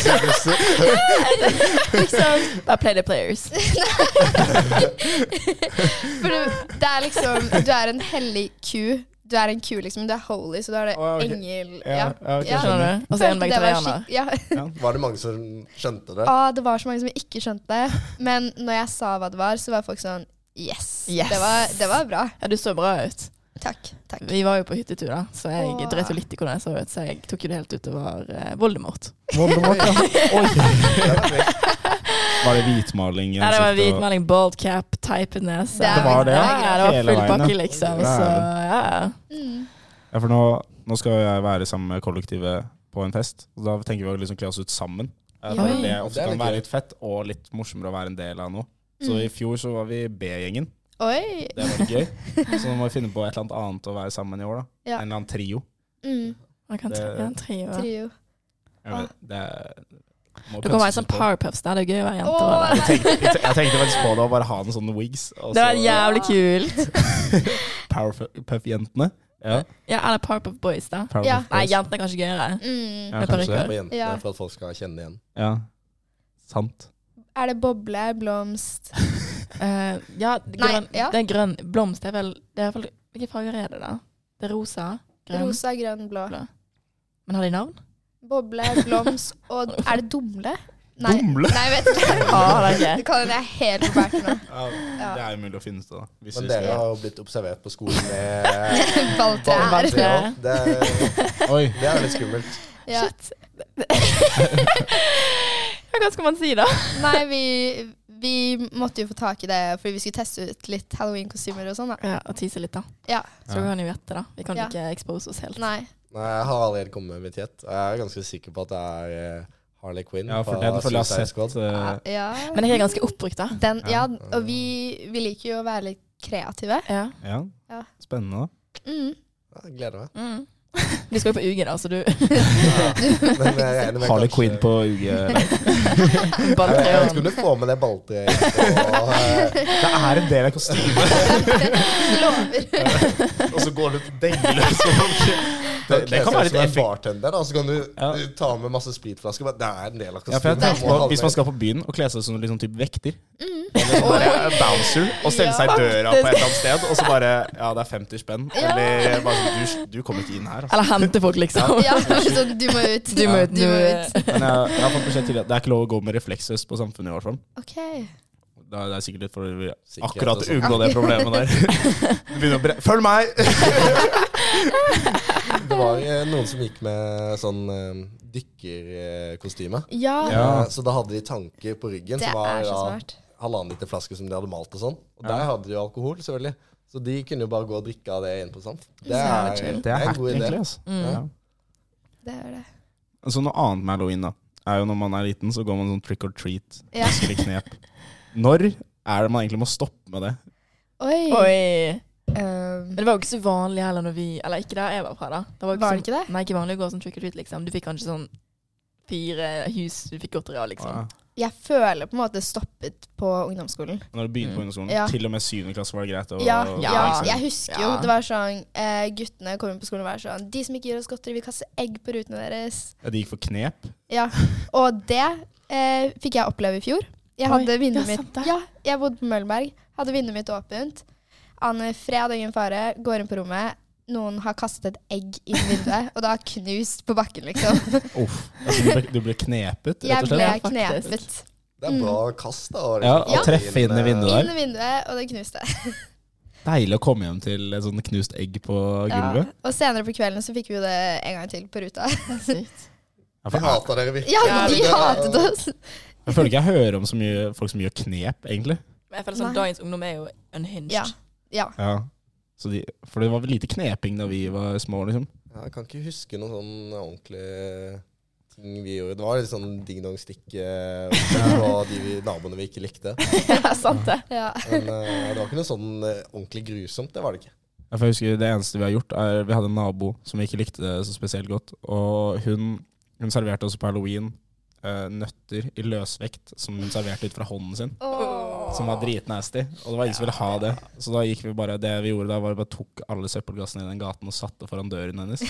[SPEAKER 5] Liksom, bare play the players.
[SPEAKER 6] For du, det er liksom Du er en hellig ku. Du er en ku, liksom. Du er holy, så du er det
[SPEAKER 3] Å, ok.
[SPEAKER 6] engel Ja.
[SPEAKER 3] ok,
[SPEAKER 6] Ja.
[SPEAKER 5] Skjønner du? Og så
[SPEAKER 6] Følte
[SPEAKER 5] er en
[SPEAKER 6] det var
[SPEAKER 5] vegetarianer.
[SPEAKER 6] skikk- Ja.
[SPEAKER 4] Var det mange som skjønte det?
[SPEAKER 6] Ah, det var så mange som ikke skjønte det. Men når jeg sa hva det var, så var folk sånn Yes!
[SPEAKER 5] Yes.
[SPEAKER 6] Det, var, det var bra.
[SPEAKER 5] Ja, du så bra ut.
[SPEAKER 6] Takk. takk.
[SPEAKER 5] Vi var jo på hyttetur, da, så jeg
[SPEAKER 6] Åh.
[SPEAKER 5] dreit jo litt i hvordan jeg så ut. Så jeg tok jo det helt utover eh, Voldemort.
[SPEAKER 3] Voldemort, ja. Oi. Var det hvitmaling? i
[SPEAKER 5] Ja, det
[SPEAKER 3] ansiktet
[SPEAKER 5] var
[SPEAKER 3] og-
[SPEAKER 5] hvitmaling, bald cap, teipet nese.
[SPEAKER 6] Det er- Det var det,
[SPEAKER 5] ja.
[SPEAKER 6] ja.
[SPEAKER 5] det var
[SPEAKER 3] Hele
[SPEAKER 5] full
[SPEAKER 3] veien,
[SPEAKER 5] pakke,
[SPEAKER 3] ja.
[SPEAKER 5] liksom.
[SPEAKER 3] Det er
[SPEAKER 5] Så
[SPEAKER 3] det.
[SPEAKER 5] ja, ja.
[SPEAKER 6] Mm.
[SPEAKER 3] Ja, for nå, nå skal jeg være sammen med kollektivet på en fest. Og da tenker vi å liksom kle oss ut sammen. Eh, For
[SPEAKER 5] Ja.
[SPEAKER 3] det
[SPEAKER 4] Det
[SPEAKER 3] ofte
[SPEAKER 4] er
[SPEAKER 3] kan
[SPEAKER 4] litt
[SPEAKER 3] være
[SPEAKER 4] gøy.
[SPEAKER 3] litt fett og litt morsommere å være en del av noe. Så
[SPEAKER 6] Mm.
[SPEAKER 3] i fjor så var vi B-gjengen.
[SPEAKER 6] Oi!
[SPEAKER 3] Det var litt gøy. Så nå må vi finne på et eller annet annet å være sammen i år, da.
[SPEAKER 6] Ja.
[SPEAKER 3] En eller annen trio.
[SPEAKER 6] Mm.
[SPEAKER 5] Man kan
[SPEAKER 3] Det-
[SPEAKER 5] tre, ja, trio. ja.
[SPEAKER 6] Trio.
[SPEAKER 3] Jeg vet, det er- må
[SPEAKER 5] Du kan være
[SPEAKER 3] pønses
[SPEAKER 5] sånn
[SPEAKER 3] på.
[SPEAKER 5] Powerpuffs der. Det er gøy å være jente.
[SPEAKER 6] Åh.
[SPEAKER 5] og
[SPEAKER 3] Jeg
[SPEAKER 5] det.
[SPEAKER 3] tenkte, jeg tenkte- jeg tenkte faktisk på det, å bare ha en sånn wigs. Og
[SPEAKER 5] Det var
[SPEAKER 3] så
[SPEAKER 5] jævlig kult.
[SPEAKER 3] Powerpuff-jentene. Ja,
[SPEAKER 5] Ja, eller Powerpuff Boys, da.
[SPEAKER 3] Powerpuff
[SPEAKER 6] Ja.
[SPEAKER 5] Nei,
[SPEAKER 3] Girls.
[SPEAKER 5] jentene er kanskje gøyere.
[SPEAKER 6] Mm.
[SPEAKER 3] Ja,
[SPEAKER 5] med
[SPEAKER 3] kanskje det.
[SPEAKER 5] parykker.
[SPEAKER 4] På jentene
[SPEAKER 6] Ja.
[SPEAKER 4] For at folk skal kjenne igjen.
[SPEAKER 3] Ja. Sant.
[SPEAKER 6] Er det boble, blomst
[SPEAKER 5] Eh, ja, det er
[SPEAKER 6] Nei,
[SPEAKER 5] grønn,
[SPEAKER 6] ja.
[SPEAKER 5] det er grønn blomst. Det er vel det er i hvert fall- Hvilke farger er det, da? Det er rosa, grønn
[SPEAKER 6] Rosa, grønn, blå.
[SPEAKER 5] Blå. Men har de navn?
[SPEAKER 6] Boble, blomst og Er det dumle? Nei,
[SPEAKER 3] Dumle!
[SPEAKER 6] nei vet du
[SPEAKER 5] Ah, det er
[SPEAKER 6] Du kan det er helt på bærten nå.
[SPEAKER 3] Ja,
[SPEAKER 6] Ja.
[SPEAKER 3] det er jo mulig å finne ut av. hvis vi
[SPEAKER 4] Men dere har jo blitt observert på skolen med
[SPEAKER 6] Balltrær.
[SPEAKER 5] Balltrær.
[SPEAKER 4] Balltrær. Det, er-
[SPEAKER 3] skal- Oi,
[SPEAKER 4] det er litt skummelt.
[SPEAKER 6] Ja.
[SPEAKER 5] Ja, hva skal man si, da?
[SPEAKER 6] Nei, vi, vi måtte jo få tak i det fordi vi skulle teste ut litt halloween-kostymer og sånn. da.
[SPEAKER 5] Ja, Og tise litt, da.
[SPEAKER 6] Ja,
[SPEAKER 5] Så kan jo gjette, da. Vi kan
[SPEAKER 6] Ja.
[SPEAKER 5] ikke expose oss helt.
[SPEAKER 6] Nei.
[SPEAKER 4] Nei, jeg har allerede kommet med mitt gjett. Jeg er ganske sikker på at det er eh, Harley Quinn.
[SPEAKER 3] ja, for
[SPEAKER 4] fra
[SPEAKER 3] den føler jeg har
[SPEAKER 4] Suicide Squad.
[SPEAKER 3] sett. eh,
[SPEAKER 6] Ja.
[SPEAKER 5] Men jeg er ganske oppbrukt, da.
[SPEAKER 6] Den, ja, og vi, vi liker jo å være litt kreative.
[SPEAKER 5] Ja.
[SPEAKER 3] Ja.
[SPEAKER 6] Ja.
[SPEAKER 3] Spennende.
[SPEAKER 6] Mm.
[SPEAKER 4] Ja, jeg gleder meg.
[SPEAKER 5] Mm. Du skal jo på UG, da, så du
[SPEAKER 4] Men eh, jeg regner med
[SPEAKER 3] Harley
[SPEAKER 4] kanskje-
[SPEAKER 3] Quinn på UG.
[SPEAKER 5] bare
[SPEAKER 4] Jeg,
[SPEAKER 5] tre
[SPEAKER 4] jeg
[SPEAKER 5] år.
[SPEAKER 4] skulle få med det balltreet. og, eh,
[SPEAKER 3] Det er en del av kostymet,
[SPEAKER 6] Lover.
[SPEAKER 3] og så går du dengeløs. Det, det kan være litt
[SPEAKER 4] en
[SPEAKER 3] effektivt.
[SPEAKER 4] bartender, da, så kan du
[SPEAKER 3] Ja.
[SPEAKER 4] du ta med masse spritflasker. bare, Det er en del av
[SPEAKER 3] Ja, for jeg
[SPEAKER 4] kostymet.
[SPEAKER 3] tenker
[SPEAKER 4] Jeg må
[SPEAKER 3] på,
[SPEAKER 4] ha
[SPEAKER 3] hvis
[SPEAKER 4] med-
[SPEAKER 3] man skal på byen og kle seg som liksom typ vekter Eller sånn bare bouncer og stelle seg i døra på et eller annet sted, og så bare Ja, det er 50 spenn. Eller bare sånn Du, du kommer ikke inn her, altså.
[SPEAKER 5] Eller hente folk, liksom.
[SPEAKER 6] Ja, sånn, du må ut.
[SPEAKER 5] Du må ut,
[SPEAKER 6] Du må
[SPEAKER 3] Men
[SPEAKER 6] ut.
[SPEAKER 3] jeg, jeg har fått beskjed tidligere at det er ikke lov å gå med refleksvest på Samfunnet i år. Sånn.
[SPEAKER 6] Ok.
[SPEAKER 3] Det er, det er sikkert litt for å
[SPEAKER 4] Sikkerhet
[SPEAKER 3] akkurat
[SPEAKER 4] og sånn.
[SPEAKER 3] unngå det problemet der. Du begynner å bre Følg meg!
[SPEAKER 4] Det var eh, noen som gikk med sånn eh, dykkerkostyme.
[SPEAKER 6] Ja,
[SPEAKER 3] Ja.
[SPEAKER 4] Eh, Så da hadde de tanker på ryggen
[SPEAKER 6] det
[SPEAKER 4] som var
[SPEAKER 6] er så
[SPEAKER 4] ja,
[SPEAKER 6] svært.
[SPEAKER 4] halvannen liter flaske som de hadde malt og sånn. Og der hadde de jo alkohol, selvfølgelig. Så de kunne jo bare gå og drikke av det innpå, sant. Det er,
[SPEAKER 5] chill.
[SPEAKER 4] det er en
[SPEAKER 3] hack,
[SPEAKER 4] god idé.
[SPEAKER 3] egentlig. Altså.
[SPEAKER 4] Ja.
[SPEAKER 6] Det er det.
[SPEAKER 3] Altså, noe annet med halloween da, er jo når man er liten, så går man sånn trick or treat.
[SPEAKER 6] Ja.
[SPEAKER 3] Husker ikke knep. Når er det man egentlig må stoppe med det?
[SPEAKER 6] Oi.
[SPEAKER 5] Oi.
[SPEAKER 6] Um,
[SPEAKER 5] Men det var jo ikke så vanlig heller når vi Eller ikke der jeg var fra, da. Det var,
[SPEAKER 6] Var det
[SPEAKER 5] sånn-
[SPEAKER 6] ikke det?
[SPEAKER 5] Nei, ikke vanlig å gå sånn trick or treat, liksom. Du fikk kanskje sånn fire hus du fikk godteri av, liksom.
[SPEAKER 6] jeg føler på en måte stoppet på ungdomsskolen.
[SPEAKER 3] Når du
[SPEAKER 4] Mm.
[SPEAKER 3] begynte på ungdomsskolen,
[SPEAKER 6] Ja.
[SPEAKER 3] til og med syvende klasse var det greit. å-
[SPEAKER 6] Ja,
[SPEAKER 3] å-
[SPEAKER 6] ja,
[SPEAKER 5] ja.
[SPEAKER 6] jeg husker jo.
[SPEAKER 5] Ja.
[SPEAKER 6] Det var sånn, eh, Guttene kom inn på skolen og var sånn De som ikke gir oss godteri, vi kaster egg på rutene deres.
[SPEAKER 3] Ja, de gikk for knep.
[SPEAKER 6] Ja, og det eh, fikk jeg oppleve i fjor. Jeg
[SPEAKER 5] Oi,
[SPEAKER 6] hadde vinduet
[SPEAKER 5] ja, sant
[SPEAKER 6] mitt
[SPEAKER 5] det.
[SPEAKER 6] Ja, jeg bodde på Møllenberg. Hadde vinduet mitt åpent. Anne Fred og ingen fare går inn på rommet. Noen har kastet et egg inn vinduet, og da knust på bakken, liksom.
[SPEAKER 3] Uff. Altså, du, ble, du ble knepet, rett
[SPEAKER 6] Jeg
[SPEAKER 3] og
[SPEAKER 6] ble
[SPEAKER 3] slett.
[SPEAKER 5] Ja, faktisk.
[SPEAKER 6] knepet.
[SPEAKER 4] Det er bra
[SPEAKER 6] Mm.
[SPEAKER 4] kast, da. å
[SPEAKER 3] Ja,
[SPEAKER 4] liksom
[SPEAKER 3] Å
[SPEAKER 4] ta
[SPEAKER 3] treffe inn i
[SPEAKER 4] eh,
[SPEAKER 3] vinduet
[SPEAKER 6] Inn
[SPEAKER 3] der.
[SPEAKER 6] i vinduet, og det knuste.
[SPEAKER 3] Deilig å komme hjem til et sånn knust egg på
[SPEAKER 6] Ja.
[SPEAKER 3] gulvet.
[SPEAKER 6] Og senere på kvelden så fikk vi jo det en gang til på ruta.
[SPEAKER 5] Sykt.
[SPEAKER 3] Ja,
[SPEAKER 4] Jeg
[SPEAKER 3] for jeg,
[SPEAKER 4] hater dere virkelig.
[SPEAKER 6] Ja,
[SPEAKER 5] Ja,
[SPEAKER 6] de
[SPEAKER 5] det-
[SPEAKER 6] hatet oss.
[SPEAKER 3] jeg føler ikke jeg hører om så mye folk som gjør knep, egentlig.
[SPEAKER 5] Men jeg føler sånn
[SPEAKER 6] Nei.
[SPEAKER 5] dagens ungdom er jo unhinged.
[SPEAKER 6] Ja. Ja.
[SPEAKER 3] Ja. Så de, for det var vel lite kneping da vi var små, liksom.
[SPEAKER 4] Ja, Jeg kan ikke huske noen sånn ordentlig ting vi gjorde. Det var litt sånn ding-dong-stikk eh, på de vi, naboene vi ikke likte.
[SPEAKER 5] Ja, sant det.
[SPEAKER 6] Ja.
[SPEAKER 4] Men eh, det var ikke noe sånn eh, ordentlig grusomt. Det var det ikke.
[SPEAKER 3] Ja, for jeg husker Det eneste vi har gjort, er vi hadde en nabo som vi ikke likte så spesielt godt. Og hun, hun serverte oss på halloween eh, nøtter i løsvekt som hun serverte ut fra hånden sin. Som var dritnasty. Og det var ingen som ville ha det. Så da gikk vi bare, det vi gjorde da, var at vi bare tok alle søppelgassene i den gaten og satte foran døren hennes.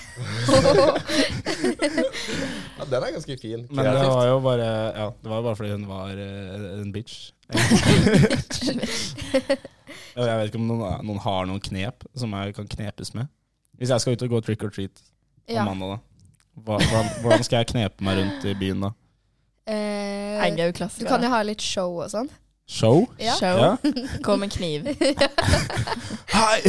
[SPEAKER 4] Ja, den er ganske fin.
[SPEAKER 3] Men det
[SPEAKER 4] kreativt.
[SPEAKER 3] var jo bare ja, det var jo bare fordi hun var eh, en bitch. Og jeg vet ikke om noen, noen har noen knep som jeg kan knepes med. Hvis jeg skal ut og gå trick or treat, på
[SPEAKER 6] ja.
[SPEAKER 3] mandag, da? Hva, hvordan, hvordan skal jeg knepe meg rundt i byen, da?
[SPEAKER 5] Jeg
[SPEAKER 6] Eh,
[SPEAKER 5] er jo
[SPEAKER 6] du
[SPEAKER 5] klassiker.
[SPEAKER 6] kan jo ha litt show og sånn.
[SPEAKER 3] Show?
[SPEAKER 6] Ja.
[SPEAKER 5] Show. Kom med kniv.
[SPEAKER 3] Hei!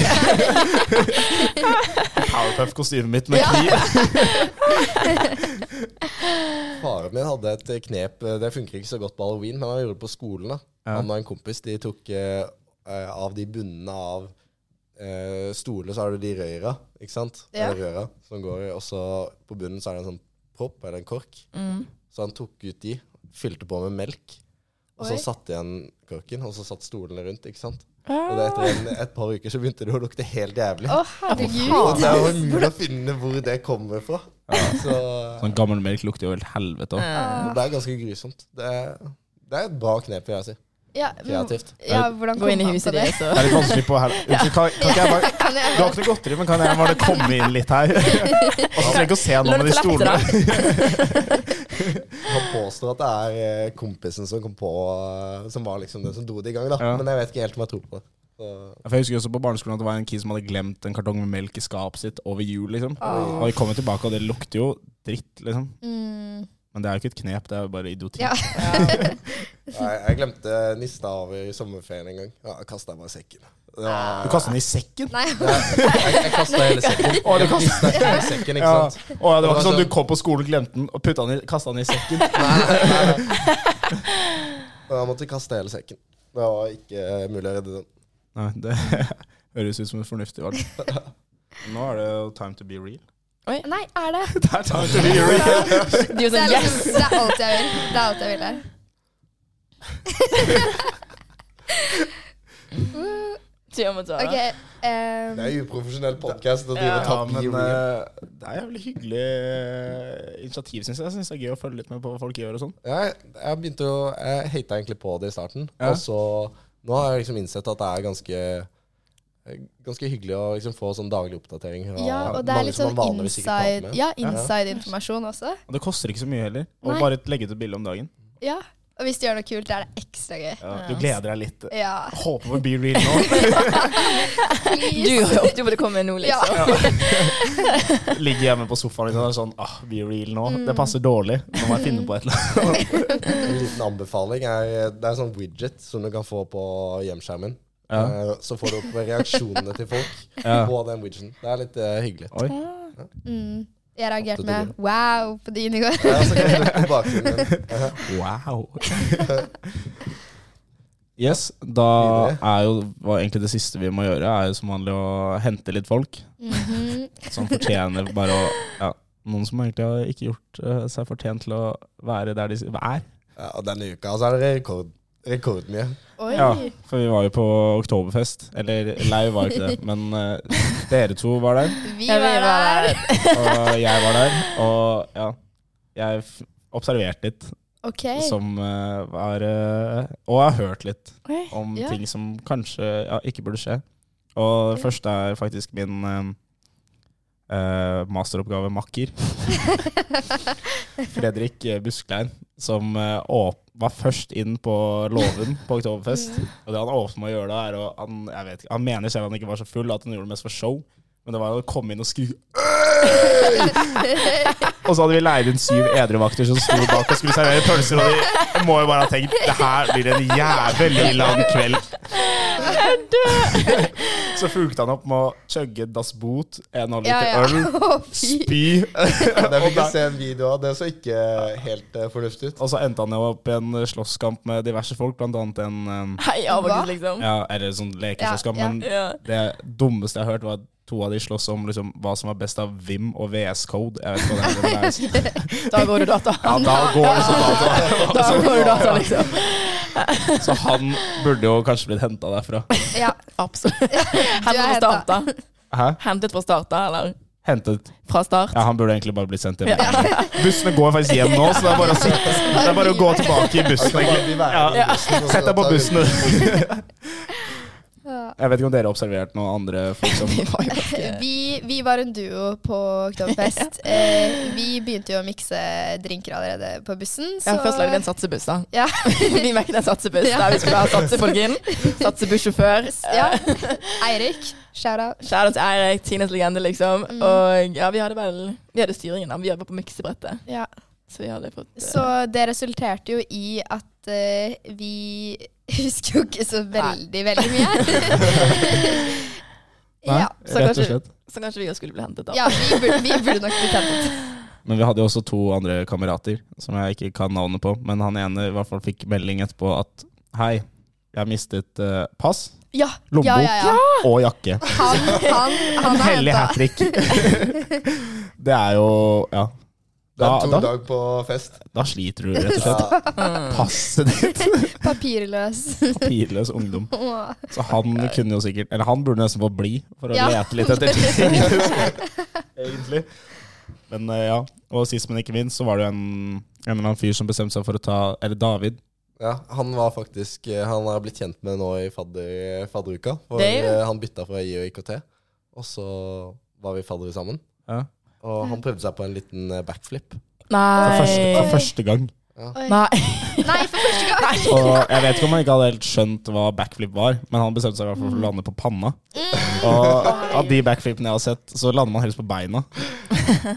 [SPEAKER 3] Powerpuff-kostymet mitt med kniv.
[SPEAKER 4] Faren min hadde et knep eh, Det funker ikke så godt på halloween, men han gjorde det på skolen. da
[SPEAKER 3] Ja.
[SPEAKER 4] Han og en kompis de tok eh, eh, av de bunnene av eh, stoler, så har du de røyra, ikke sant?
[SPEAKER 6] Ja.
[SPEAKER 4] Eller Røra som går, i, og så på bunnen så er det en sånn propp eller en kork.
[SPEAKER 6] Mm.
[SPEAKER 4] Så han tok ut de, fylte på med melk, og
[SPEAKER 6] Oi.
[SPEAKER 4] så satte igjen korken, og så satt stolene rundt, ikke sant? Og det etter en, et par uker så begynte det å lukte helt jævlig.
[SPEAKER 6] Ah. Å, herregud.
[SPEAKER 4] Og det er jo umulig å finne hvor det kommer fra. Så
[SPEAKER 3] Sånn gammel melk lukter jo helt helvete òg.
[SPEAKER 4] det er ganske grusomt. Det er, det er et bra knep, vil jeg si.
[SPEAKER 3] Mm.
[SPEAKER 6] Ja, men-
[SPEAKER 4] Kreativt.
[SPEAKER 6] Ja, hvordan
[SPEAKER 5] Gå inn i
[SPEAKER 6] kom han på
[SPEAKER 5] huset
[SPEAKER 6] det?
[SPEAKER 5] ditt, så
[SPEAKER 3] Det er litt vanskelig på her. Unnskyld, kan, kan ikke jeg bare
[SPEAKER 6] Kan jeg
[SPEAKER 3] Du har ikke noe godteri, men kan jeg bare komme inn litt her? Og så trenger jeg ikke å se noe
[SPEAKER 5] La
[SPEAKER 3] med
[SPEAKER 5] det
[SPEAKER 3] de
[SPEAKER 5] få lette,
[SPEAKER 3] stolene.
[SPEAKER 5] da.
[SPEAKER 4] Han påstår at det er eh, kompisen som kom på eh, Som var liksom den som dro det i gang, da.
[SPEAKER 3] Ja.
[SPEAKER 4] Men jeg vet ikke helt om jeg tror på det. Så,
[SPEAKER 3] Ja, For jeg husker også på barneskolen at det var en kid som hadde glemt en kartong med melk i skapet sitt over jul. liksom. Og vi kom jo tilbake, og det lukter jo dritt, liksom.
[SPEAKER 6] Mm,
[SPEAKER 3] Men det er jo ikke et knep, det er jo bare idioti.
[SPEAKER 6] Ja.
[SPEAKER 4] jeg, jeg glemte nista over i sommerferien en gang. Ja, jeg kasta bare sekken. Det var-
[SPEAKER 3] Du kaster den i sekken.
[SPEAKER 6] nei,
[SPEAKER 4] Jeg, jeg kasta hele sekken.
[SPEAKER 3] Å, du
[SPEAKER 4] Jeg kasta hele sekken, ikke
[SPEAKER 3] Ja.
[SPEAKER 4] sant?
[SPEAKER 3] Å, ja, det var ikke sånn
[SPEAKER 4] sånn-
[SPEAKER 3] du kom på skolen, glemte den og putta den i, kasta den i sekken.
[SPEAKER 4] Og jeg måtte kaste hele sekken. Det var ikke eh, mulig å redde den.
[SPEAKER 3] Nei, det høres ut som et fornuftig valg. Nå er det jo time to be real.
[SPEAKER 6] nei, er det?
[SPEAKER 3] Det er time to be real.
[SPEAKER 5] Du er
[SPEAKER 6] Det er,
[SPEAKER 5] sånn yes!
[SPEAKER 6] liksom, det er alt jeg vil. Det er alt jeg vil her.
[SPEAKER 5] Tja, må ta det.
[SPEAKER 6] Ok, ehm,
[SPEAKER 4] Det er uprofesjonell podkast å drive og
[SPEAKER 3] Ja,
[SPEAKER 4] ta
[SPEAKER 3] men
[SPEAKER 4] be real.
[SPEAKER 3] eh, det er jævlig hyggelig eh, initiativ, syns jeg. Jeg synes det er gøy å følge litt med på hva folk gjør og sånn.
[SPEAKER 4] Jeg, jeg begynte å Jeg hata egentlig på det i starten,
[SPEAKER 3] Ja.
[SPEAKER 4] og så Nå har jeg liksom innsett at det er ganske Ganske hyggelig å liksom få sånn daglig oppdatering. fra
[SPEAKER 6] ja, og det er
[SPEAKER 4] mange
[SPEAKER 6] litt
[SPEAKER 4] som
[SPEAKER 6] sånn
[SPEAKER 4] man vanligvis ikke prater
[SPEAKER 6] inside,
[SPEAKER 4] med.
[SPEAKER 6] ja, inside informasjon også.
[SPEAKER 3] Og det koster ikke så mye heller. Og
[SPEAKER 6] Nei.
[SPEAKER 3] bare legge ut et bilde om dagen.
[SPEAKER 6] Ja, Og hvis du gjør noe kult, da er det ekstra gøy.
[SPEAKER 3] Ja, du gleder deg litt.
[SPEAKER 6] Ja,
[SPEAKER 3] Håper på be real nå.
[SPEAKER 5] Du håpte jo på det kom med nå,
[SPEAKER 6] ja.
[SPEAKER 5] liksom.
[SPEAKER 3] Ligger hjemme på sofaen liksom, og er sånn ah, be real nå. Det passer dårlig. Nå må jeg finne på et eller annet.
[SPEAKER 4] En liten anbefaling er Det er en sånn widget som du kan få på hjemskjermen.
[SPEAKER 3] Ja.
[SPEAKER 4] Eh, Så får du opp reaksjonene til folk
[SPEAKER 3] Ja.
[SPEAKER 4] på den widgeten. Det er litt eh, hyggelig.
[SPEAKER 3] Oi.
[SPEAKER 6] Mm. Jeg reagerte
[SPEAKER 4] Åtte
[SPEAKER 6] med
[SPEAKER 4] dollar.
[SPEAKER 6] 'wow' på din i går.
[SPEAKER 4] Ja, så kan du på bakgrunnen.
[SPEAKER 3] Wow. Yes, da er jo hva egentlig det siste vi må gjøre, er jo som vanlig å hente litt folk
[SPEAKER 5] Mm.
[SPEAKER 6] Mhm.
[SPEAKER 3] som fortjener bare å ja, Noen som egentlig har ikke gjort eh, seg fortjent til å være der de s- er.
[SPEAKER 4] Ja, og denne uka altså, er det rekord, rekordmye.
[SPEAKER 6] Oi.
[SPEAKER 3] Ja, for vi var jo på oktoberfest. Eller Leiv var jo ikke det, men eh, dere to var der,
[SPEAKER 6] Vi
[SPEAKER 5] Ja, vi
[SPEAKER 6] var
[SPEAKER 5] var
[SPEAKER 6] der.
[SPEAKER 3] og jeg var der. Og ja, jeg f- observerte litt,
[SPEAKER 6] OK.
[SPEAKER 3] som eh, var eh, Og har hørt litt.
[SPEAKER 5] Oi.
[SPEAKER 3] om
[SPEAKER 6] Ja.
[SPEAKER 3] ting som kanskje ja, ikke burde skje. Og det første er faktisk min eh, eh, masteroppgave makker. Fredrik eh, Busklein, som eh, åp var først inn på låven på Oktoberfest. Og det han åpnet med å gjøre da, er å han, jeg vet ikke, han mener selv han ikke var så full, at han gjorde det mest for show. Men det var å komme inn og skru Og så hadde vi leid inn syv edru vakter som sto bak og skulle servere pølser. Og de må jo bare ha tenkt det her blir en jævlig lang kveld. Så fulgte han opp med å chugge Das Boot, en halv
[SPEAKER 6] Ja,
[SPEAKER 3] liter
[SPEAKER 6] ja.
[SPEAKER 3] øl,
[SPEAKER 6] Å, fy.
[SPEAKER 3] spy.
[SPEAKER 4] Der fikk vi se en video av det så ikke helt eh, fornuftig ut.
[SPEAKER 3] Og så endte han jo opp i en slåsskamp med diverse folk, blant annet en eh,
[SPEAKER 5] Hei, Abakus,
[SPEAKER 6] Hva?
[SPEAKER 5] liksom.
[SPEAKER 3] Ja, eller sånn lekeslåsskamp,
[SPEAKER 6] Ja, ja.
[SPEAKER 3] men
[SPEAKER 5] Ja.
[SPEAKER 3] det dummeste jeg har hørt, var at to av de slåss om liksom, hva som var best av Vim og VS Code. Jeg vet ikke hva det er. men det er-
[SPEAKER 5] Da går du data.
[SPEAKER 3] Ja, da går det så data.
[SPEAKER 5] Da går du data, liksom.
[SPEAKER 3] Så han burde jo kanskje blitt henta derfra.
[SPEAKER 6] Ja.
[SPEAKER 5] Absolutt.
[SPEAKER 6] Du
[SPEAKER 5] Hentet
[SPEAKER 6] er
[SPEAKER 5] fra starta.
[SPEAKER 3] Hæ?
[SPEAKER 5] Hentet fra starta, eller?
[SPEAKER 3] Hentet
[SPEAKER 5] Fra start.
[SPEAKER 3] Ja, han burde egentlig bare blitt sendt hjem. Bussene går faktisk hjem nå, så det er bare å, se- det er bare å gå tilbake i bussen.
[SPEAKER 4] Kan
[SPEAKER 3] egentlig.
[SPEAKER 4] vi være
[SPEAKER 3] Ja.
[SPEAKER 4] i bussen, og så
[SPEAKER 3] Sett deg på
[SPEAKER 4] tar vi-
[SPEAKER 3] bussen.
[SPEAKER 6] Ja.
[SPEAKER 3] Jeg vet ikke om dere har observert noen andre folk som
[SPEAKER 5] Vi var jo ikke
[SPEAKER 6] Vi, vi var en duo på Oktoberfest. eh, vi begynte jo å mikse drinker allerede på bussen.
[SPEAKER 5] Ja,
[SPEAKER 6] så-
[SPEAKER 5] først lagde vi en satsebuss, da.
[SPEAKER 6] Ja.
[SPEAKER 5] Vi merket en satsebuss
[SPEAKER 6] Ja.
[SPEAKER 5] der vi skulle ha satsefolken. Satsebussjåfør.
[SPEAKER 6] ja. Eirik, shout-out.
[SPEAKER 5] Kjære til Eirik, Tines legende, liksom.
[SPEAKER 6] Mm.
[SPEAKER 5] Og ja, vi hadde vel Vi hadde styringen, da. Vi jobba på miksebrettet.
[SPEAKER 6] Ja.
[SPEAKER 5] Så vi hadde fått eh,
[SPEAKER 6] Så det resulterte jo i at eh, vi husker jo ikke så veldig, veldig mye.
[SPEAKER 3] Nei,
[SPEAKER 6] ja.
[SPEAKER 5] så
[SPEAKER 3] rett og
[SPEAKER 5] kanskje-
[SPEAKER 3] slett.
[SPEAKER 5] Så kanskje vi også skulle bli hentet, da.
[SPEAKER 6] ja, vi burde, vi burde nok blitt hentet.
[SPEAKER 3] Men vi hadde jo også to andre kamerater som jeg ikke kan navnet på. Men han ene i hvert fall fikk melding etterpå at hei, jeg har mistet eh, pass,
[SPEAKER 6] Ja,
[SPEAKER 3] lommebok
[SPEAKER 6] ja, ja, ja.
[SPEAKER 3] og jakke.
[SPEAKER 6] Han, han, han har
[SPEAKER 3] Hellig
[SPEAKER 6] hentet.
[SPEAKER 3] hat trick. Det er jo Ja.
[SPEAKER 4] Det er
[SPEAKER 3] Da-
[SPEAKER 4] to
[SPEAKER 3] da-
[SPEAKER 4] dager på fest.
[SPEAKER 3] Da sliter du, rett og slett.
[SPEAKER 4] Ja,
[SPEAKER 3] Passet ditt.
[SPEAKER 6] Papirløs.
[SPEAKER 3] Papirløs ungdom.
[SPEAKER 6] Åh.
[SPEAKER 3] Så han kunne jo sikkert Eller han burde nesten få bli, for å
[SPEAKER 6] Ja.
[SPEAKER 3] lete litt etter ting. Egentlig. Men eh, ja. Og sist, men ikke minst, så var det jo en, en eller annen fyr som bestemte seg for å ta Eller David.
[SPEAKER 4] ja, han var faktisk eh, Han har blitt kjent med nå i fadder, fadderuka. For
[SPEAKER 5] Det er jo-
[SPEAKER 4] eh, han bytta fra I og IKT, og så var vi faddere sammen.
[SPEAKER 3] Ja.
[SPEAKER 4] Og han prøvde seg på en liten eh, backflip.
[SPEAKER 3] For, første,
[SPEAKER 5] Nei.
[SPEAKER 3] for første gang.
[SPEAKER 5] Nei.
[SPEAKER 6] Nei, for første gang!
[SPEAKER 3] Og jeg vet ikke om han ikke hadde helt skjønt hva backflip var, men han bestemte seg i hvert fall for å lande på panna. Og av de backflipene jeg har sett, så lander man helst på beina.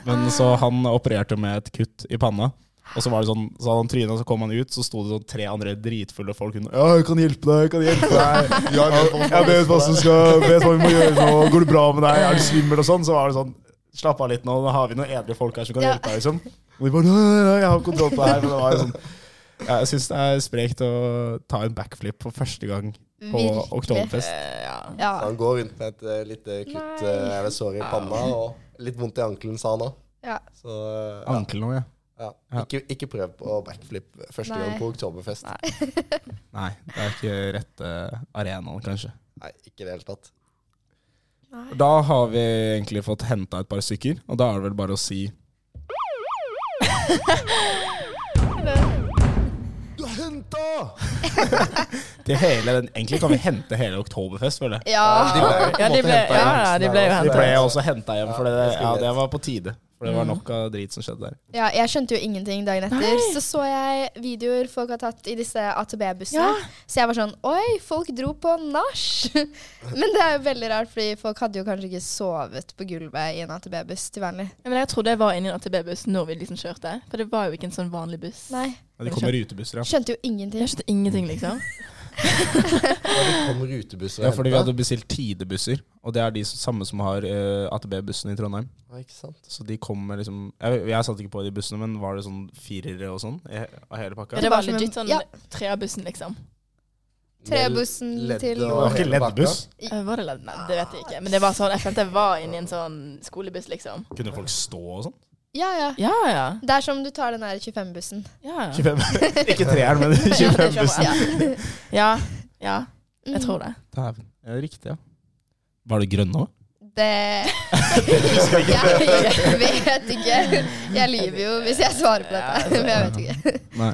[SPEAKER 3] Men så han opererte med et kutt i panna. Og så var det sånn, så hadde han trynet, og så kom han ut, så sto det sånn tre andre dritfulle folk rundt. Ja, jeg kan hjelpe deg, jeg kan hjelpe deg.
[SPEAKER 4] Ja, jeg vet hva-
[SPEAKER 3] Jeg vet hva, som skal, vet hva vi må gjøre nå. Går det bra med deg? Er du svimmel og sånn? Så var det sånn, slapp av litt nå, nå har vi noen edle folk her som kan
[SPEAKER 6] Ja.
[SPEAKER 3] hjelpe deg, liksom. Og de bare, nei, nei, nei, jeg har kontroll på det her. Men det var jo sånn, ja, jeg synes det er sprekt å ta en backflip for første gang på
[SPEAKER 6] Virkelig.
[SPEAKER 3] Oktoberfest.
[SPEAKER 5] Eh, ja.
[SPEAKER 6] Ja.
[SPEAKER 4] Så Han går rundt med et eh, lite kutt
[SPEAKER 6] Nei.
[SPEAKER 4] eh, eller sår i panna, og litt vondt i ankelen, sa han òg.
[SPEAKER 6] Ja.
[SPEAKER 4] Så eh, ja.
[SPEAKER 3] Ankel nå, ja.
[SPEAKER 4] Ja.
[SPEAKER 3] Ja.
[SPEAKER 4] Ikke, ikke prøv på backflip første
[SPEAKER 6] Nei.
[SPEAKER 4] gang på oktoberfest. Nei.
[SPEAKER 3] Nei, det er ikke rette arenaen, kanskje.
[SPEAKER 4] ikke i det hele tatt.
[SPEAKER 3] Da har vi egentlig fått henta et par stykker, og da er det vel bare å si
[SPEAKER 4] Du har henta!
[SPEAKER 3] til hele den Egentlig kan vi hente hele Oktoberfest, føler jeg.
[SPEAKER 6] Ah. ja.
[SPEAKER 5] Ja, de ble- ja, ja,
[SPEAKER 4] altså.
[SPEAKER 5] de ble jo
[SPEAKER 3] Vi
[SPEAKER 5] hentet.
[SPEAKER 3] ble også henta hjem,
[SPEAKER 4] Ja,
[SPEAKER 3] for det, ja,
[SPEAKER 4] det skulle vi
[SPEAKER 3] det
[SPEAKER 4] gjette. Mm.
[SPEAKER 3] var på tide. For det var nok av drit som skjedde der.
[SPEAKER 6] Ja, jeg skjønte jo ingenting dagen etter. Så så jeg videoer folk har tatt i disse AtB-bussene.
[SPEAKER 5] Ja.
[SPEAKER 6] Så jeg var sånn Oi, folk dro på nach! Men det er jo veldig rart, fordi folk hadde jo kanskje ikke sovet på gulvet i en AtB-buss til vanlig.
[SPEAKER 5] Ja, Men jeg trodde jeg var inne i en ATB-buss når vi liksom kjørte. For det var jo ikke en sånn vanlig buss.
[SPEAKER 6] Nei.
[SPEAKER 3] Men det kom med rutebusser, ja.
[SPEAKER 6] Skjønte jo ingenting.
[SPEAKER 3] Mm.
[SPEAKER 5] Jeg skjønte ingenting, liksom.
[SPEAKER 4] Og det kom rutebusser og
[SPEAKER 3] Ja, fordi vi
[SPEAKER 4] hentet.
[SPEAKER 3] hadde bestilt tidebusser, og det er de som- samme som har eh, ATB-bussene i Trondheim.
[SPEAKER 4] Ja, ikke sant?
[SPEAKER 3] Så de kom med liksom Jeg, jeg satt ikke på de bussene, men var det sånn firere og sånn i- av hele
[SPEAKER 5] Ja,
[SPEAKER 3] pakka?
[SPEAKER 5] det
[SPEAKER 6] Bare
[SPEAKER 5] var
[SPEAKER 6] som en-
[SPEAKER 5] legit sånn
[SPEAKER 6] ja.
[SPEAKER 5] tre av bussen, liksom.
[SPEAKER 6] Trebussen
[SPEAKER 4] Ledd
[SPEAKER 6] til
[SPEAKER 4] og
[SPEAKER 3] Det var ikke
[SPEAKER 4] hele pakka.
[SPEAKER 3] leddbuss.
[SPEAKER 5] Eh, Var det ledd? Nei, det vet jeg ikke. Men det var sånn, jeg følte jeg var inni en sånn skolebuss, liksom.
[SPEAKER 3] Kunne folk stå og sånn?
[SPEAKER 6] Ja, ja.
[SPEAKER 5] Ja, ja.
[SPEAKER 6] Det er som du tar den der 25-bussen.
[SPEAKER 5] Ja, ja.
[SPEAKER 3] 25. ikke treeren, men
[SPEAKER 5] Ja, det
[SPEAKER 3] 25-bussen.
[SPEAKER 5] skjønner jeg. Ja, ja. Jeg tror det.
[SPEAKER 3] Dæven. Ja, det er riktig, ja. Var det grønn òg?
[SPEAKER 6] Det Jeg vet ikke. Jeg lyver jo hvis jeg svarer på dette. Men jeg vet ikke.
[SPEAKER 3] Nei.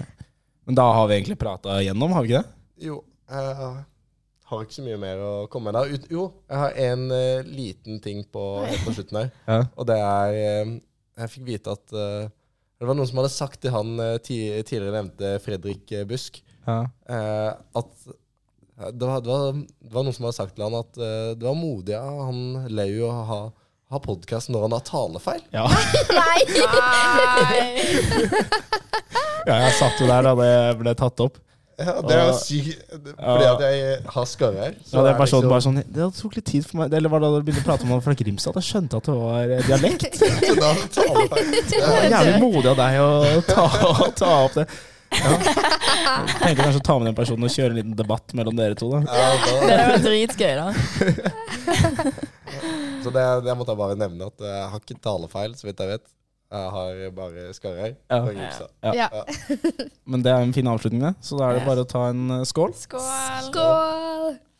[SPEAKER 3] Men da har vi egentlig prata igjennom, har vi ikke det?
[SPEAKER 4] Jo, jeg har ikke så mye mer å komme med der. Ut- Jo, jeg har en eh, liten ting på, helt på slutten her.
[SPEAKER 3] Ja.
[SPEAKER 4] Og det er eh, Jeg fikk vite at eh, det var noen som hadde sagt til han eh, ti- tidligere nevnte Fredrik eh, Busk
[SPEAKER 3] ja.
[SPEAKER 4] eh, at eh, det var, det, var, det var noen som hadde sagt til han at eh, det var modig av han Lau å ha, ha podkast når han har talefeil.
[SPEAKER 3] Ja.
[SPEAKER 6] Nei!
[SPEAKER 5] Nei.
[SPEAKER 3] ja, jeg satt jo der da det ble tatt opp.
[SPEAKER 4] Ja,
[SPEAKER 3] det er jo
[SPEAKER 4] sykt,
[SPEAKER 3] fordi at
[SPEAKER 4] jeg har skarrer.
[SPEAKER 3] Så hadde personen bare sånn Det tok litt tid for meg Eller var det da du begynte å prate om han fra Grimstad? Jeg skjønte at det var eh, dialekt. Det var jævlig modig av deg å ta, å ta opp det. Ja. Jeg tenkte kanskje å ta med den personen og kjøre en liten debatt mellom dere to. da.
[SPEAKER 5] Det er jo dritgøy, da.
[SPEAKER 4] Så det, det måtte jeg bare nevne, at eh, jeg har ikke talefeil, så vidt jeg vet. Jeg har bare skarrer.
[SPEAKER 3] Ja.
[SPEAKER 4] fra Grimstad.
[SPEAKER 6] Ja.
[SPEAKER 3] Men det er en fin avslutning, det. Så da er det bare å ta en eh, skål.
[SPEAKER 5] Skål.
[SPEAKER 6] Skål!